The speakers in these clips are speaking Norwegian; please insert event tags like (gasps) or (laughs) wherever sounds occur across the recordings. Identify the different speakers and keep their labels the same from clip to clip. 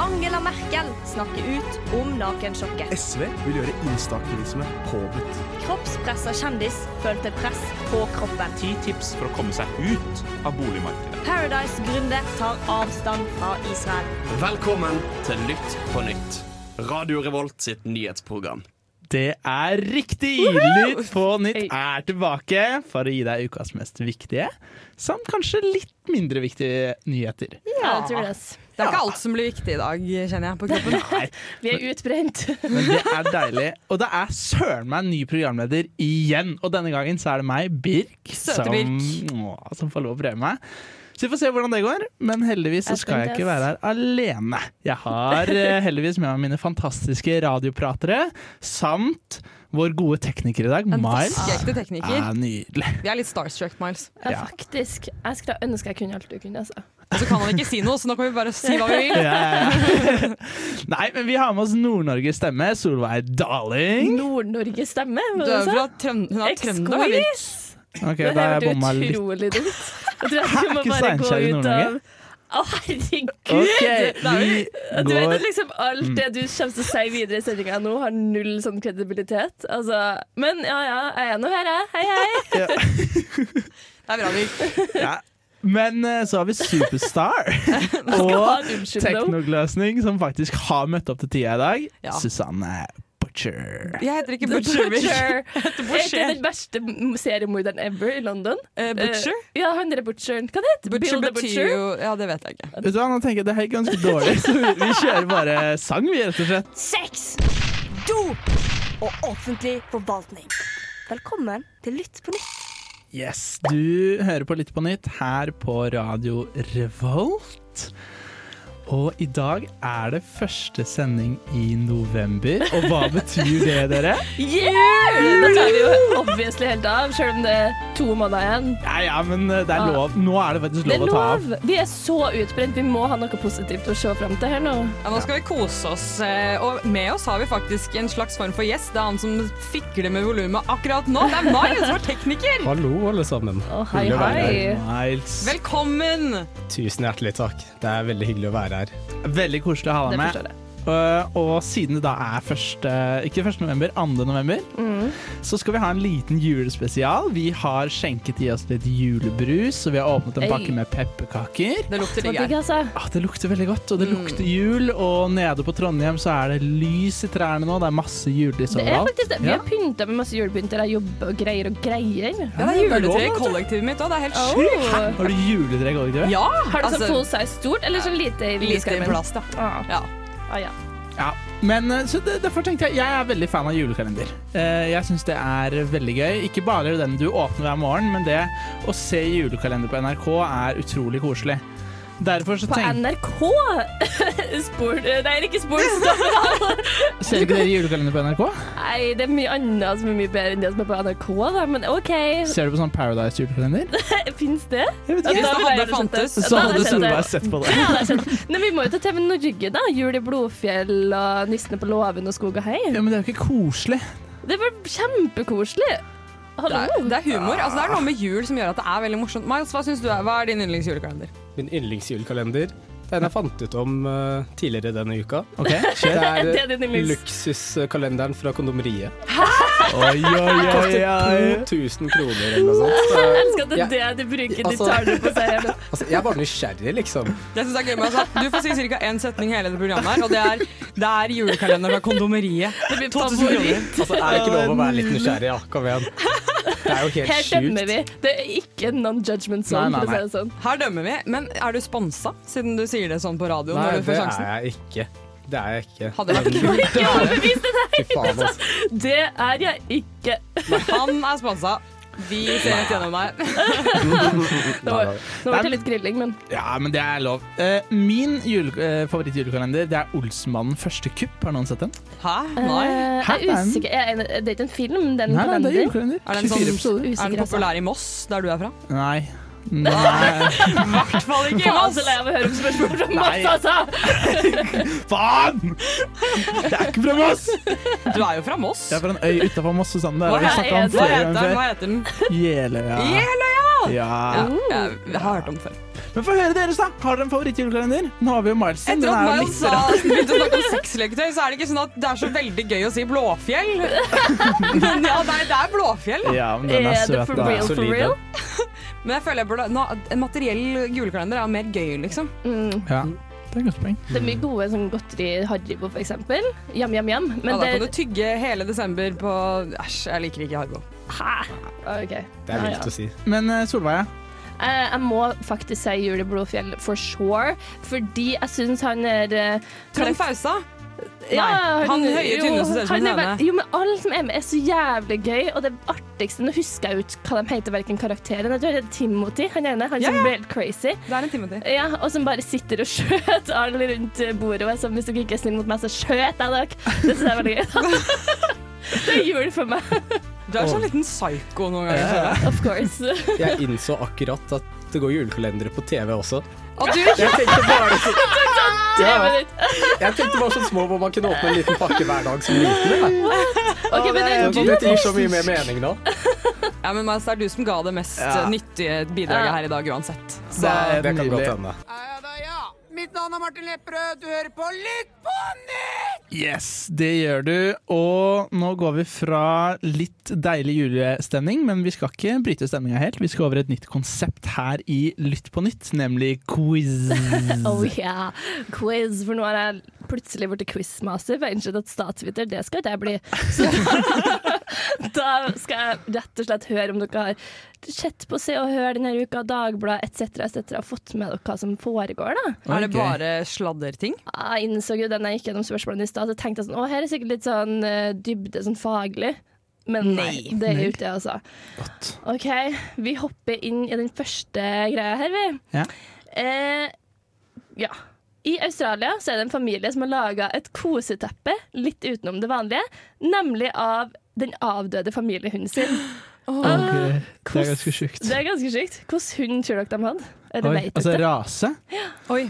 Speaker 1: Angela Merkel snakker ut om nakensjokket.
Speaker 2: SV vil gjøre instaktivisme påbudt.
Speaker 1: Kroppspressa kjendis følte press på kroppen.
Speaker 3: Ti tips for å komme seg ut av boligmarkedet.
Speaker 1: Paradise-gründer tar avstand fra Israel.
Speaker 4: Velkommen til Lytt på nytt. Radio Revolt sitt nyhetsprogram.
Speaker 5: Det er riktig! Lytt på nytt er tilbake for å gi deg ukas mest viktige, samt kanskje litt mindre viktige nyheter.
Speaker 6: Ja, jeg tror det. ass. Det er ikke alt som blir viktig i dag, kjenner jeg på kroppen.
Speaker 5: Nei,
Speaker 7: Vi er utbrent.
Speaker 5: men det er deilig. Og det er søren meg en ny programleder igjen. Og denne gangen så er det meg, Birk,
Speaker 6: Søte
Speaker 5: som,
Speaker 6: Birk.
Speaker 5: Åh, som får lov å prøve meg. Så vi får se hvordan det går, men heldigvis så
Speaker 7: Jeg er
Speaker 5: skal jeg
Speaker 7: spent,
Speaker 5: ikke
Speaker 7: ass.
Speaker 5: være her alene. Jeg har eh, heldigvis med meg mine fantastiske radiopratere samt vår gode tekniker i dag,
Speaker 6: En
Speaker 5: Miles.
Speaker 6: vaskeekte tekniker.
Speaker 5: Er nydelig.
Speaker 6: Vi er litt starstruck, Miles.
Speaker 7: (laughs) Ja,
Speaker 5: Ja.
Speaker 7: faktisk. Jeg skulle ønske jeg kunne alt du kunne, altså.
Speaker 6: Og så kan han ikke si noe, så nå kan vi bare si hva vi vil.
Speaker 5: ja, ja. (laughs) Nei, men vi har med oss Nord-Norges stemme, Solveig Daling.
Speaker 7: Nord-Norge stemme,
Speaker 6: Du
Speaker 7: var det
Speaker 6: er
Speaker 7: du
Speaker 6: fra
Speaker 7: sa?
Speaker 6: Trøn hun er trønder. eller?
Speaker 7: Exqueeze!
Speaker 5: Ok,
Speaker 7: Det
Speaker 5: da har
Speaker 7: her
Speaker 5: jeg
Speaker 7: ble
Speaker 5: bomma litt.
Speaker 7: utrolig dumt.
Speaker 5: (laughs)
Speaker 7: Jeg tror
Speaker 5: Hæ,
Speaker 7: at du må
Speaker 5: ikke
Speaker 7: bare gå
Speaker 5: Steinkjer i
Speaker 7: ut
Speaker 5: Nord-Norge?
Speaker 7: av Å, herregud!
Speaker 5: Ok, vi
Speaker 7: Du vet at
Speaker 5: går Mm.
Speaker 7: liksom alt det du kommer til å si videre i sendinga nå, har null sånn kredibilitet. Altså, men ja ja, jeg er nå her, jeg. Hei, hei.
Speaker 6: Det er bra, Birk.
Speaker 5: ja. Men eh, så har vi
Speaker 7: (laughs)
Speaker 5: Superstar
Speaker 7: Skal ha
Speaker 5: og
Speaker 7: en unnskyldning.
Speaker 5: Teknogløsning, som faktisk har møtt opp til tida i dag.
Speaker 6: Ja.
Speaker 5: Susanne Butcher.
Speaker 6: Jeg heter ikke Butcher.
Speaker 7: Butcher.
Speaker 6: Birk.
Speaker 7: Butcher.
Speaker 6: Butcher.
Speaker 7: Er den verste m- seriemorderen ever i London?
Speaker 6: Eh, Butcher?
Speaker 7: Eh, ja, han derre butcheren. Hva det heter
Speaker 6: Butcher
Speaker 7: Bill the
Speaker 6: betyr jo Ja, det vet jeg ikke.
Speaker 5: Vet du hva, Nå tenker jeg at det her er ganske dårlig, så vi vi kjører bare sang, vi, rett og slett.
Speaker 1: Sex, dop og offentlig forvaltning. Velkommen til Lytt på nytt.
Speaker 5: Yes, Du hører på Litt på nytt her på Radio Revolt. Og i dag er det første sending i november. Og
Speaker 7: (laughs)
Speaker 5: hva betyr det, dere?
Speaker 7: Yeah! Da tar vi jo obviously helt av, sjøl om det er to måneder igjen.
Speaker 5: Ja, ja, men eh, det er lov. Nå er det faktisk
Speaker 7: Ah. Det er
Speaker 5: lov å ta av.
Speaker 7: lov! Vi er så utbrent. Vi må ha noe positivt å se fram til her nå.
Speaker 6: Ja, nå skal vi kose oss. eh, Og med oss har vi faktisk en slags form for gjest. Det er han som fikler med volumet akkurat nå. Det er Miles, vår tekniker.
Speaker 8: Hallo, alle sammen.
Speaker 7: Å, hei,
Speaker 8: Hyggelig å være
Speaker 7: hei.
Speaker 5: Miles.
Speaker 6: Velkommen.
Speaker 8: her. Tusen hjertelig takk. Det er veldig hyggelig å være her.
Speaker 5: Veldig koselig å ha deg
Speaker 7: Det
Speaker 5: med.
Speaker 7: forstår jeg.
Speaker 5: Og, og siden det da er første, ikke 1. november, 2. november,
Speaker 7: Mm.
Speaker 5: så skal vi ha en liten julespesial. Vi har skjenket i oss litt julebrus, og vi har åpnet en
Speaker 7: Hey.
Speaker 5: pakke med pepperkaker.
Speaker 6: Det
Speaker 7: Så
Speaker 6: lukter digg
Speaker 7: digg,
Speaker 6: her.
Speaker 7: altså.
Speaker 5: Ah, det lukter veldig godt,
Speaker 7: Mm.
Speaker 5: og det lukter jul. Og nede på Trondheim så er det lys i trærne nå. Det er masse julelys
Speaker 7: Det er
Speaker 5: overalt.
Speaker 7: faktisk det. Vi
Speaker 5: Ja.
Speaker 7: har pynta med masse julepynt der jeg jobber og greier og greier.
Speaker 6: Ja, det er juletre i kollektivet mitt òg. Det er helt sjukt.
Speaker 7: Åh.
Speaker 5: Har du juletre i kollektivet?
Speaker 6: Ja,
Speaker 7: Har du sånn
Speaker 6: altså,
Speaker 7: full size stort eller sånn lite i
Speaker 6: lite
Speaker 7: vindueskarmen?
Speaker 6: plass, da.
Speaker 7: Ah,
Speaker 6: Ja.
Speaker 7: ah, ja.
Speaker 5: Ja. Men eh, så det, derfor tenkte jeg Jeg er veldig fan av julekalender. Eh, Jeg syns det er veldig gøy. Ikke bare den du åpner hver morgen, men det å se julekalender på NRK er utrolig koselig. Derfor så
Speaker 7: På
Speaker 5: tenk...
Speaker 7: NRK (laughs) Spor Nei, ikke Sportskanalen.
Speaker 5: Ser ikke dere julekalender på NRK?
Speaker 7: Nei, det er mye annet som er mye bedre enn det som er på NRK, da. Men OK,
Speaker 5: Ser du på sånn Paradise julekalender?
Speaker 7: fins det?
Speaker 5: Jeg vet ikke.
Speaker 7: Ja,
Speaker 6: Hvis
Speaker 7: da
Speaker 6: det
Speaker 7: vil jeg
Speaker 6: hadde
Speaker 7: gjerne sett det.
Speaker 6: fantes,
Speaker 7: Ja,
Speaker 5: Så
Speaker 7: da hadde
Speaker 5: hadde
Speaker 7: jeg sett det.
Speaker 5: Solveig sett på
Speaker 7: (laughs)
Speaker 5: det.
Speaker 7: Ja, det er sant. Men vi må jo til TV Norge, da. Jul i Blodfjell og Nissene på låven og Skog og hei.
Speaker 5: Ja, men det er jo ikke koselig.
Speaker 7: Det var kjempekoselig.
Speaker 6: Det
Speaker 7: Hallo.
Speaker 6: er, det er humor. Altså, det er noe med jul som gjør at det er veldig morsomt. Miles, hva, synes du er, hva er din yndlingsjulekalender?
Speaker 8: Min yndlingsjulekalender. Den jeg fant ut om eh, tidligere denne uka.
Speaker 5: Ok,
Speaker 8: Det
Speaker 5: kjør.
Speaker 8: er
Speaker 7: (laughs) Det er din
Speaker 8: eh,
Speaker 7: yndlings.
Speaker 8: luksuskalenderen fra kondomeriet.
Speaker 5: Oi, oi, oi, oi.
Speaker 8: 2000 kroner eller noe sånt. Så,
Speaker 7: Jeg elsker at det er
Speaker 8: Ja.
Speaker 7: det de bruker de
Speaker 8: Altså-
Speaker 7: tallene på seg her nå.
Speaker 8: altså, jeg er bare nysgjerrig, liksom.
Speaker 6: Det synes jeg er gøy med, altså. Du får si ca. én setning i hele det programmet her, og det er, det er julekalender fra Kondomeriet.
Speaker 7: Det blir
Speaker 6: 2000
Speaker 7: favoritt.
Speaker 6: kroner.
Speaker 8: Altså, er det ikke lov å være litt nysgjerrig? Ja, kom igjen. Det er jo
Speaker 7: Her
Speaker 8: (laughs) helt
Speaker 7: dømmer
Speaker 8: sjukt.
Speaker 7: vi. Det er ikke non-judgment
Speaker 5: Nei,
Speaker 7: song,
Speaker 5: nei,
Speaker 7: for å si det sånn.
Speaker 6: Her dømmer vi. Men er du sponsa, siden du sier det sånn på radio
Speaker 8: Nei,
Speaker 6: når du
Speaker 8: det
Speaker 6: får
Speaker 8: er
Speaker 6: sjansen?
Speaker 8: jeg ikke. Det er jeg ikke.
Speaker 6: Hadde vært
Speaker 8: Men-
Speaker 7: Ikke overbevist det
Speaker 8: Fy faen, altså.
Speaker 7: der! Det er jeg ikke.
Speaker 6: Han er sponsa. Vi ser rett gjennom deg.
Speaker 7: Nå var nå var det litt grilling, men
Speaker 5: Ja, men det er lov. Eh, min jule, eh, favorittjulekalender det er Olsenmannen første kupp. Har noen sett den?
Speaker 6: Hæ? Nei?
Speaker 7: Eh,
Speaker 5: Hæ?
Speaker 7: Jeg er usikker. Er det er det ikke en film? Den
Speaker 5: Nei, nei, det er
Speaker 7: kalender?
Speaker 5: julekalender.
Speaker 6: Er den sånn-
Speaker 5: 24 episoder.
Speaker 6: Er den
Speaker 7: Usikker, altså.
Speaker 6: populær i Moss, der du er fra?
Speaker 5: Nei. Nei.
Speaker 6: I hvert fall ikke i
Speaker 7: Faen,
Speaker 6: Moss!
Speaker 7: så lei av å høre om spørsmål fra
Speaker 5: Nei.
Speaker 7: Mats, altså!
Speaker 5: Faen! Det er ikke fra Moss! Jeg
Speaker 6: Du er jo fra Moss.
Speaker 5: er fra en øy utafor Moss, Susanne. Det
Speaker 6: Hva
Speaker 5: har vi snakka om
Speaker 6: Hva
Speaker 5: flere
Speaker 6: heter den? Hva
Speaker 5: ganger før.
Speaker 6: heter den?
Speaker 5: Jeløya.
Speaker 6: Jeløya!
Speaker 5: Ja.
Speaker 6: Jeg, jeg har hørt om det før.
Speaker 5: Men få høre deres, da! Har dere en favorittjulekalender? Nå har vi jo Miles sin.
Speaker 6: Etter
Speaker 5: den
Speaker 6: at
Speaker 5: er jo
Speaker 6: Miles
Speaker 5: litt
Speaker 6: sa
Speaker 5: rar.
Speaker 6: begynte å snakke om sexleketøy, så er det ikke sånn at det er så veldig gøy å si Blåfjell. (laughs) Men ja, nei, det er Blåfjell. da.
Speaker 5: Ja, men den er
Speaker 7: Er det
Speaker 5: søt,
Speaker 7: for
Speaker 5: da.
Speaker 7: real, for
Speaker 8: solid,
Speaker 7: real?
Speaker 6: Men jeg føler jeg burde nå, En materiell julekalender er jo mer gøy, liksom.
Speaker 7: Mm.
Speaker 5: Ja, det er et godt poeng.
Speaker 7: Det er mye gode sånn godteri Haribo, for eksempel. Jam, jam, jam.
Speaker 6: Ja,
Speaker 7: Men
Speaker 6: da kan
Speaker 7: det
Speaker 6: du tygge hele desember på Æsj, jeg liker ikke Harbo.
Speaker 7: Hæ? ah, OK.
Speaker 8: Det er
Speaker 7: Ja,
Speaker 8: vilt
Speaker 7: ja.
Speaker 8: å si.
Speaker 5: Men eh, Solveig, ja.
Speaker 7: Eh, jeg må faktisk si Jul i Blodfjell for sure, fordi jeg syns han er eh,
Speaker 6: Trond Fausa?
Speaker 7: Ja,
Speaker 6: Nei, han høye,
Speaker 7: jo,
Speaker 6: tynne som ser ut som
Speaker 7: han
Speaker 6: en
Speaker 7: er vel-
Speaker 6: høne.
Speaker 7: Jo, men alle som er med, er så jævlig gøy, og det artigste Nå husker jeg jo ikke hva de heter, hverken karakteren. Jeg tror det er Timothy, han ene, han
Speaker 6: Ja,
Speaker 7: som
Speaker 6: ja.
Speaker 7: ble helt crazy.
Speaker 6: Det er en time til.
Speaker 7: Ja, og som bare sitter og skjøter alle rundt bordet og er sånn Hvis dere ikke er snille mot meg, så skjøter jeg dere. Det syns jeg er veldig gøy. (laughs) Det er jul for meg,
Speaker 6: Du er sånn liten psyko noen ganger. føler jeg.
Speaker 7: of course. (laughs)
Speaker 8: Jeg innså akkurat at det går julekalendere på TV også.
Speaker 6: Og du,
Speaker 8: Jeg tenkte
Speaker 7: (laughs)
Speaker 8: bare så,
Speaker 7: Tre
Speaker 8: Ja.
Speaker 7: minutter.
Speaker 8: jeg tenkte bare så små hvor man kunne åpne en liten pakke hver dag som liten. jeg.
Speaker 7: OK, men det er
Speaker 8: Jeg-
Speaker 7: du.
Speaker 8: Dette gir så mye mer mening nå.
Speaker 6: ja, men Mads, det er du som ga det mest eh, nyttige bidraget
Speaker 7: Ja.
Speaker 6: her i dag uansett.
Speaker 5: Det
Speaker 8: Det
Speaker 5: er
Speaker 8: kan
Speaker 5: nydelig.
Speaker 8: godt hende.
Speaker 5: Yes, det gjør du. Og nå går vi fra litt deilig julestemning, men vi skal ikke bryte stemninga helt. Vi skal over et nytt konsept her i Lytt på nytt, nemlig quiz.
Speaker 7: Oh yeah, quiz. For nå har jeg plutselig blitt quizmaster. For jeg har innsett at statsviter, det skal ikke jeg bli. (laughs) Så (laughs) da skal jeg rett og slett høre om dere har sett på Se og Hør denne uka, Dagbladet etc., etc., og fått med dere hva som foregår, da.
Speaker 6: Er det
Speaker 5: Ok.
Speaker 6: bare sladderting?
Speaker 7: Ah, Jeg innså jo da jeg gikk gjennom spørsmålene i stad, så tenkte jeg sånn Å, her er sikkert litt sånn eh, dybde, sånn faglig. Men nei,
Speaker 6: Nei.
Speaker 7: det er jo ikke det, altså. OK, vi hopper inn i den første greia her, vi.
Speaker 5: Ja.
Speaker 7: Eh, ja. I Australia så er det en familie som har laga et koseteppe litt utenom det vanlige, nemlig av den avdøde familiehunden sin. Ah,
Speaker 5: Ok, Det er ganske sjukt.
Speaker 7: Det er ganske sykt. Hvilken hund tror dere de hadde? Eller
Speaker 5: Oi,
Speaker 7: vet
Speaker 5: altså
Speaker 7: dere?
Speaker 5: rase?
Speaker 6: Oi.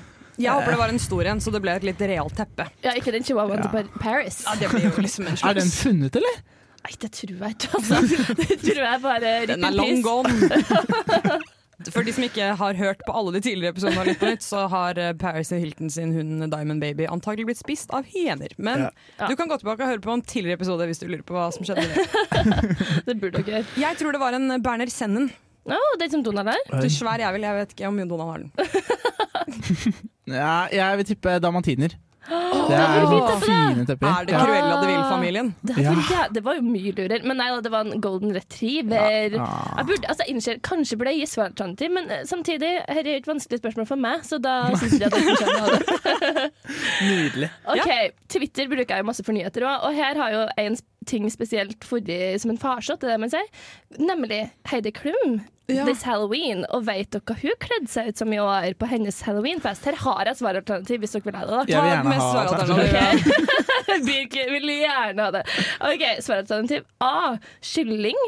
Speaker 6: Jeg håper det var en stor en, så det ble et litt realt teppe.
Speaker 7: Ja, ikke den chihuahuaen
Speaker 5: Ja.
Speaker 7: til Par- Paris.
Speaker 6: Ja, det blir jo liksom en
Speaker 5: Er den
Speaker 6: slags
Speaker 5: funnet, eller?
Speaker 7: Nei, det tror jeg ikke, altså. (laughs) Det tror jeg bare rip
Speaker 6: Den
Speaker 7: in
Speaker 6: er long
Speaker 7: peace.
Speaker 6: gone. (laughs) For de som ikke har hørt på alle de tidligere episodene av Litt på nytt, så har eh, Paris Hilton sin hund Diamond Baby antagelig blitt spist av hyener. Men
Speaker 7: Ja.
Speaker 6: du kan gå tilbake og høre på en tidligere episode hvis du lurer på hva som skjedde. med det.
Speaker 7: Det burde dere gjøre.
Speaker 6: Jeg tror det var en eh, Berner Sennen.
Speaker 7: Å, den som Donald er?
Speaker 6: Du svær jævel, jeg vet ikke om Donald har den.
Speaker 5: Ja, jeg vil tippe damantiner. Det
Speaker 7: da
Speaker 5: er
Speaker 7: blir det
Speaker 5: sånne fine tepper.
Speaker 6: Er det
Speaker 5: Ja.
Speaker 6: Cruella de Vil-familien?
Speaker 7: Det, var jæ- det var jo mye lurer. Men nei da, det var en golden retriever. Jeg burde, altså, jeg innser, kanskje burde jeg gi svar alternativ, men eh, samtidig her er jo et vanskelig spørsmål for meg, så da syns jeg at jeg ikke skjønner det.
Speaker 5: Nydelig.
Speaker 7: OK, Twitter bruker jeg jo masse for nyheter òg, og her har jo en s- ting spesielt forrige som en farsott, det er det man sier, nemlig Heidi Klum.
Speaker 6: Ja.
Speaker 7: This Halloween, og vet dere hva hun kledde seg ut som i år på hennes halloweenfest? Her har jeg svaralternativ hvis dere vil ha det. da
Speaker 5: Jeg vil
Speaker 6: Ta
Speaker 5: gjerne
Speaker 6: mest
Speaker 5: ha
Speaker 6: svaralternativet.
Speaker 7: (laughs) Birke vil gjerne ha det. Ok, Svaralternativ A kylling.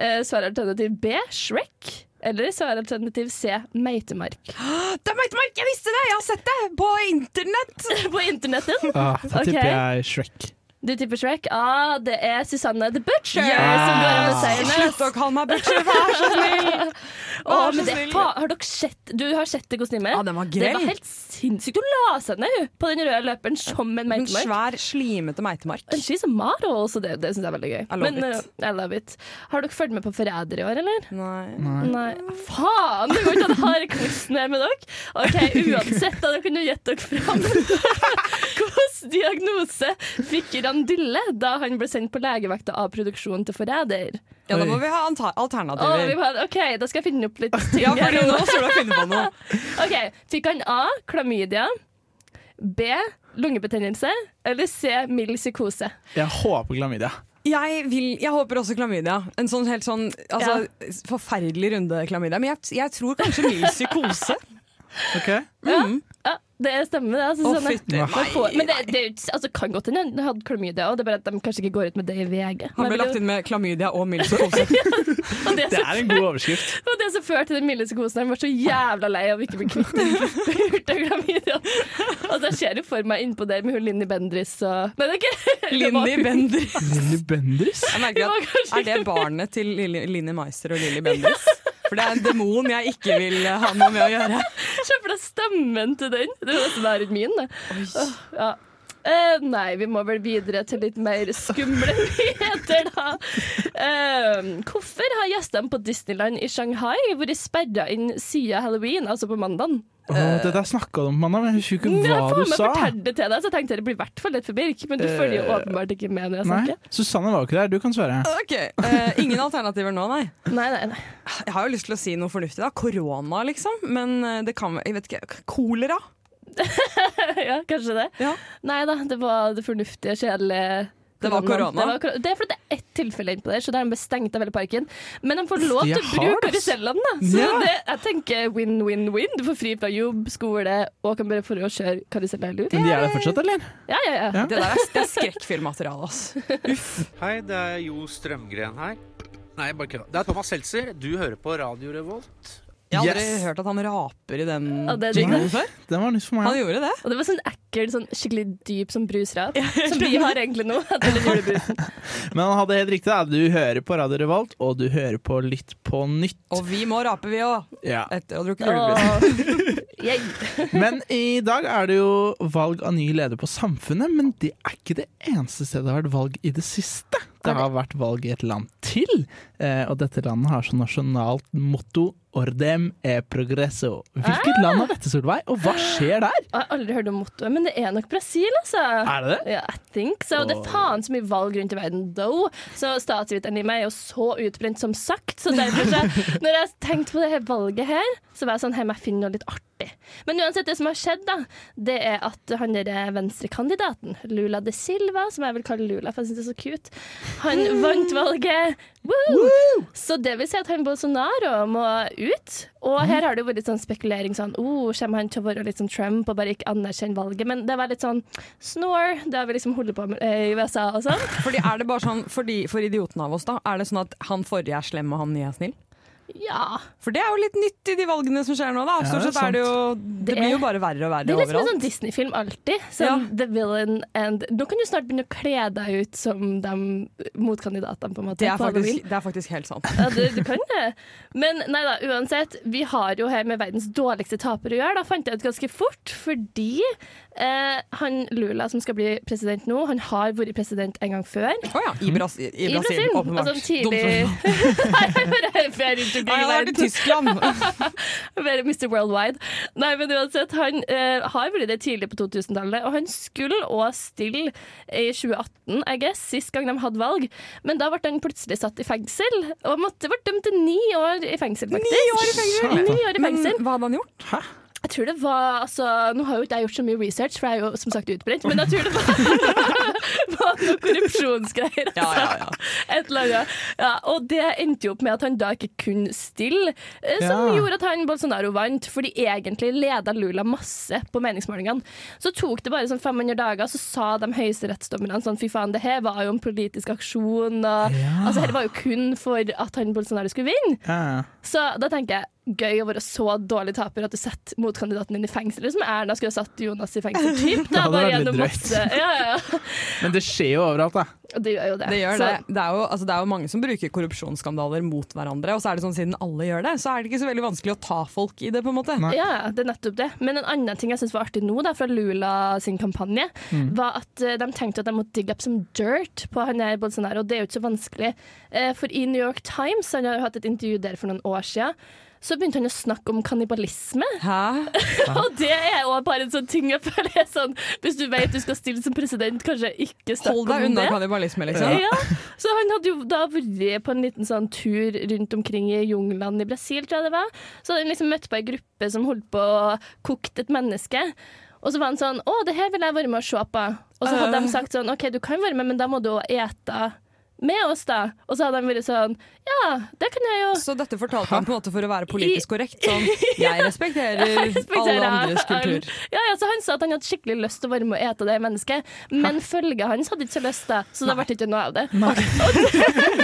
Speaker 7: Eh, Svaralternativ B Shrek. Eller svaralternativ C meitemark. (laughs)
Speaker 6: Det er Meitemark! Jeg visste det! Jeg har sett det på internett!
Speaker 7: På internettet.
Speaker 5: Ah, da tipper
Speaker 7: Ok.
Speaker 5: jeg Shrek.
Speaker 7: Du tipper Shrek. Ah, det er Susanne the Butcher
Speaker 6: Yes!
Speaker 7: som går av med
Speaker 5: Ah.
Speaker 7: seieren.
Speaker 6: Slutt å kalle meg butcher, vær så snill!
Speaker 7: (laughs) Å,
Speaker 6: Vær
Speaker 7: men
Speaker 6: så
Speaker 7: det
Speaker 6: snill.
Speaker 7: fa- har dere sett Du har sett det kostymet?
Speaker 6: Ja, den var grell.
Speaker 7: det var helt sinnssykt. Hun la seg ned hun, på den røde løperen som en
Speaker 6: En
Speaker 7: meitemark.
Speaker 6: svær, slimete meitemark.
Speaker 7: And she's a model, så det, det syns jeg er veldig gøy.
Speaker 6: I love it.
Speaker 7: eh, I love it. Har dere fulgt med på Forræder i år, eller?
Speaker 6: Nei.
Speaker 7: Nei, faen! Det går ikke an å ha quizen her med dere. OK, uansett, da dere kunne gjette dere fram. (laughs) Hvilken diagnose fikk Randille da han ble sendt på legevakta av produksjonen til Forræder?
Speaker 6: Ja, da må vi ha anta- alternativer.
Speaker 7: Å, vi må- OK, da skal jeg finne
Speaker 6: (laughs)
Speaker 7: opp litt ting.
Speaker 6: Ja,
Speaker 7: her
Speaker 6: fordi
Speaker 7: nå.
Speaker 6: nå skal du finne på noe.
Speaker 7: OK, Fikk han A. Klamydia. B. Lungebetennelse. Eller C. Mild psykose.
Speaker 5: Jeg håper klamydia.
Speaker 6: Jeg, vil, jeg håper også klamydia. En sånn helt sånn altså, forferdelig runde klamydia. Men jeg, jeg tror kanskje mild (laughs) psykose.
Speaker 5: Ok?
Speaker 7: Ja, det stemmer, det. Altså,
Speaker 6: Å,
Speaker 7: sånn at-
Speaker 6: fytti
Speaker 7: Man får- Men det,
Speaker 6: meg.
Speaker 7: det er jo ikke- altså, kan godt hende han hadde klamydia, og det er bare at de kanskje ikke går ut med det i VG.
Speaker 6: Han ble
Speaker 7: Men det-
Speaker 6: lagt inn med klamydia og (laughs) mild psykose.
Speaker 7: og
Speaker 5: Det
Speaker 7: det som-
Speaker 5: er en god overskrift.
Speaker 7: Det var det som førte til den milde psykosen. Han var så jævla lei av å ikke bli kvitt den spurte klamydiaen. Og så ser du for meg innpå der med hun Linni Bendriss og Nei, det er ikke det var-
Speaker 6: Linni Bendriss.
Speaker 5: Lilly Bendriss?
Speaker 6: Jeg merker
Speaker 7: Det var
Speaker 6: at
Speaker 7: kanskje
Speaker 6: Er det barnet til Lilly- Linni Meister og Lilly Bendriss? For det er en demon jeg ikke vil eh, ha noe med å gjøre.
Speaker 7: Se for deg stemmen til den. Det er nesten verre enn min. Det. Åh, ja. Eh, nei, vi må vel videre til litt mer skumle (laughs) nyheter, da. Eh, hvorfor har gjestene på Disneyland i Shanghai vært sperra inn siden halloween, altså på mandag?
Speaker 5: Åh, det der snakka du om, mandag, men jeg husker ikke
Speaker 7: Men jeg
Speaker 5: hva
Speaker 7: faen
Speaker 5: du
Speaker 7: meg
Speaker 5: sa. Eh,
Speaker 7: fortalte det til deg, så jeg tenkte det blir i hvert fall litt for Birk. Men du følger jo åpenbart ikke med når jeg
Speaker 5: Nei,
Speaker 7: snakker.
Speaker 5: Susanne var jo ikke der. Du kan svare.
Speaker 6: Ok, eh, Ingen alternativer nå, nei.
Speaker 7: Nei, nei, nei.
Speaker 6: Jeg har jo lyst til å si noe fornuftig. da Korona, liksom. Men eh, det kan Jeg vet ikke. Kolera?
Speaker 7: (laughs) ja, kanskje det.
Speaker 6: Ja.
Speaker 7: Nei da, det var det fornuftige, kjedelige
Speaker 6: Det var korona.
Speaker 7: Det, var kor- det er fordi det er ett tilfelle innpå der, så da er de bestengt av hele parken. Men de får lov til
Speaker 5: Jeg
Speaker 7: å
Speaker 5: har
Speaker 7: bruke
Speaker 5: det, ass.
Speaker 7: karusellene, da. Så
Speaker 5: Ja.
Speaker 7: det, jeg tenker win, win, win. Du får fri fra jobb, skole og kan bare få å kjøre karusell hele uka.
Speaker 5: Men de er der fortsatt, eller?
Speaker 7: Ja, ja, ja.
Speaker 5: Ja.
Speaker 6: Det der er, det er skrekkfilmmateriale, ass.
Speaker 9: Hei, det er Jo Strømgren her. Nei, bare kødda. Det er Thomas Seltzer. Du hører på Radio Revolt.
Speaker 6: Jeg har aldri
Speaker 5: Yes.
Speaker 6: hørt at han raper i den
Speaker 7: Ja, det er
Speaker 6: jinglen
Speaker 7: digg,
Speaker 6: før.
Speaker 5: Den var nytt for
Speaker 6: Han
Speaker 5: meg.
Speaker 6: gjorde det.
Speaker 7: Og det var sånn ekkel, sånn skikkelig dyp sånn brusrap, som vi har egentlig
Speaker 5: (laughs)
Speaker 7: nå. etter den julebrusen.
Speaker 5: Men han hadde helt riktig. da. Du hører på Radio Revolt, og du hører på Litt på nytt.
Speaker 6: Og vi må rape, vi òg.
Speaker 5: Ja.
Speaker 6: Etter å ha drukket julebrus.
Speaker 7: Åh. Yeah.
Speaker 5: Men i dag er det jo valg av ny leder på Samfunnet, men det er ikke det eneste stedet det har vært valg i det siste. Det har vært valg i et land til, eh, og dette landet har som nasjonalt motto Ordem e progresso. Hvilket land er dette, Solveig, og hva skjer der?
Speaker 7: Jeg har aldri hørt om mottoet, men det er nok Brasil, altså.
Speaker 5: Er det det?
Speaker 7: Ja, I think so. Det er faen så mye valg rundt i verden, though. Så statsviteren i meg er jo så utbrent som sagt, så derfor så Når jeg tenkte på det her valget her, så var jeg sånn Hei, må jeg finne noe litt artig. Men uansett, det som har skjedd, da, det er at han der eh, venstrekandidaten, Lula de Silva, som jeg vil kalle Lula, for jeg syns det er så cute, han vant valget. Woo! Så det vil si at han Bolsonaro må ut. Og
Speaker 6: Mhm.
Speaker 7: her har det jo vært litt sånn spekulering sånn oh, Kommer han til å være litt som Trump og bare ikke anerkjenne valget? Men det var litt sånn snore. Det har vi liksom holdt på med eh, i USA og sånn.
Speaker 6: Fordi er det bare sånn, for, de, for idiotene av oss, da, er det sånn at han forrige er slem og han nye er snill?
Speaker 7: Ja.
Speaker 6: For det er jo litt nytt i de valgene som skjer nå, da.
Speaker 5: Ja,
Speaker 6: Stort
Speaker 5: det er
Speaker 6: sett er det jo Det
Speaker 7: Det
Speaker 6: blir jo
Speaker 7: er-
Speaker 6: bare verre og
Speaker 7: Det er litt som
Speaker 6: verre
Speaker 7: en sånn
Speaker 6: overalt.
Speaker 7: Disney-film alltid. Sånn The Villain and Nå kan du snart begynne å kle deg ut som de motkandidatene, på en måte.
Speaker 6: Det er,
Speaker 7: på Halloween.
Speaker 6: faktisk, det er faktisk helt sant.
Speaker 7: Ja, du, du kan det. Men nei da, uansett. Vi har jo her med verdens dårligste taper å gjøre. Da fant jeg ut ganske fort, fordi eh, han Lula som skal bli president nå, han har vært president en gang før.
Speaker 6: Å ja, i, Bras i, i Brasil, åpenbart.
Speaker 7: Altså tidlig (laughs)
Speaker 6: Dumt
Speaker 7: Nei, jeg bare jeg er rundt
Speaker 6: for-
Speaker 7: omkring i
Speaker 6: Nei, han har vært i
Speaker 7: verden. (laughs)
Speaker 6: Tyskland!
Speaker 7: Bare Mr. Worldwide. Nei, men uansett, han eh, har vært det tidlig på 2000-tallet, og han skulle òg stille i 2018, I guess, sist gang de hadde valg. Men da ble han plutselig satt i fengsel, og måtte ble dømt til ni år i fengsel, faktisk.
Speaker 6: Ni år i fengsel!
Speaker 7: Ni år i
Speaker 6: Men
Speaker 7: fengsel.
Speaker 6: hva hadde han gjort?
Speaker 7: Jeg tror det var altså, Nå har jo ikke jeg gjort så mye research, for jeg er jo som sagt utbrent, men jeg tror det var, (laughs) var noe korrupsjonsgreier. altså.
Speaker 6: Ja, ja, ja.
Speaker 7: Et eller annet. Ja, og det endte jo opp med at han da ikke kunne stille, eh, som
Speaker 5: Ja.
Speaker 7: gjorde at han Bolsonaro vant, fordi egentlig leda Lula masse på meningsmålingene. Så tok det bare sånn 500 dager, så sa de høyesterettsdommerne sånn fy faen, det her var jo en politisk aksjon, og altså dette var jo kun for at han Bolsonaro skulle vinne.
Speaker 5: Ja, ja.
Speaker 7: Så da tenker jeg gøy å være så dårlig taper at du setter motkandidaten din i fengsel. Liksom Erna skulle ha satt Jonas i fengsel.
Speaker 5: (laughs) Det
Speaker 7: Typ, da,
Speaker 5: hadde
Speaker 7: bare
Speaker 5: vært litt
Speaker 7: gjennom
Speaker 5: drøyt.
Speaker 7: masse. Ja, ja, ja.
Speaker 5: Men det skjer jo overalt, da.
Speaker 7: Og det gjør jo det.
Speaker 6: Det, gjør
Speaker 7: Så
Speaker 6: det. Det, er jo, altså, det er jo mange som bruker korrupsjonsskandaler mot hverandre, og så er det sånn siden alle gjør det, så er det ikke så veldig vanskelig å ta folk i det, på en måte.
Speaker 5: Nei.
Speaker 7: Ja, ja, det er nettopp det. Men en annen ting jeg synes var artig nå, da, fra Lula sin kampanje,
Speaker 5: Mm.
Speaker 7: var at eh, de tenkte at de måtte digge opp som dirt på han her Bolsonaro. Det er jo ikke så vanskelig. Eh, For i New York Times, han har jo hatt et intervju der for noen år siden, så begynte han å snakke om kannibalisme.
Speaker 6: Hæ?
Speaker 7: Og det er jo bare en sånn ting jeg føler er sånn Hvis du vet du skal stille som president, kanskje ikke snakk
Speaker 6: Hold
Speaker 7: om det.
Speaker 6: deg unna kannibalisme, liksom.
Speaker 7: Ja. Så han hadde jo da vært på en liten sånn tur rundt omkring i junglene i Brasil, tror jeg det var. Så hadde han liksom møtt på ei gruppe som holdt på å kokt et menneske. Og så var han sånn Å, det her vil jeg være med og se på. Og så hadde
Speaker 6: Ah.
Speaker 7: de sagt sånn OK, du kan være med, men da må du også ete med oss, da. Og så hadde han vært sånn Ja, det kan jeg jo.
Speaker 6: Så dette fortalte han på en måte for å være politisk korrekt? Sånn, jeg respekterer alle
Speaker 7: respekterer
Speaker 6: andres
Speaker 7: han.
Speaker 6: kultur.
Speaker 7: Ja, ja, så Han sa at han hadde skikkelig lyst til å være med og ete det mennesket, men følget hans hadde ikke så lyst til det, så det ble ikke noe av det. (laughs) Og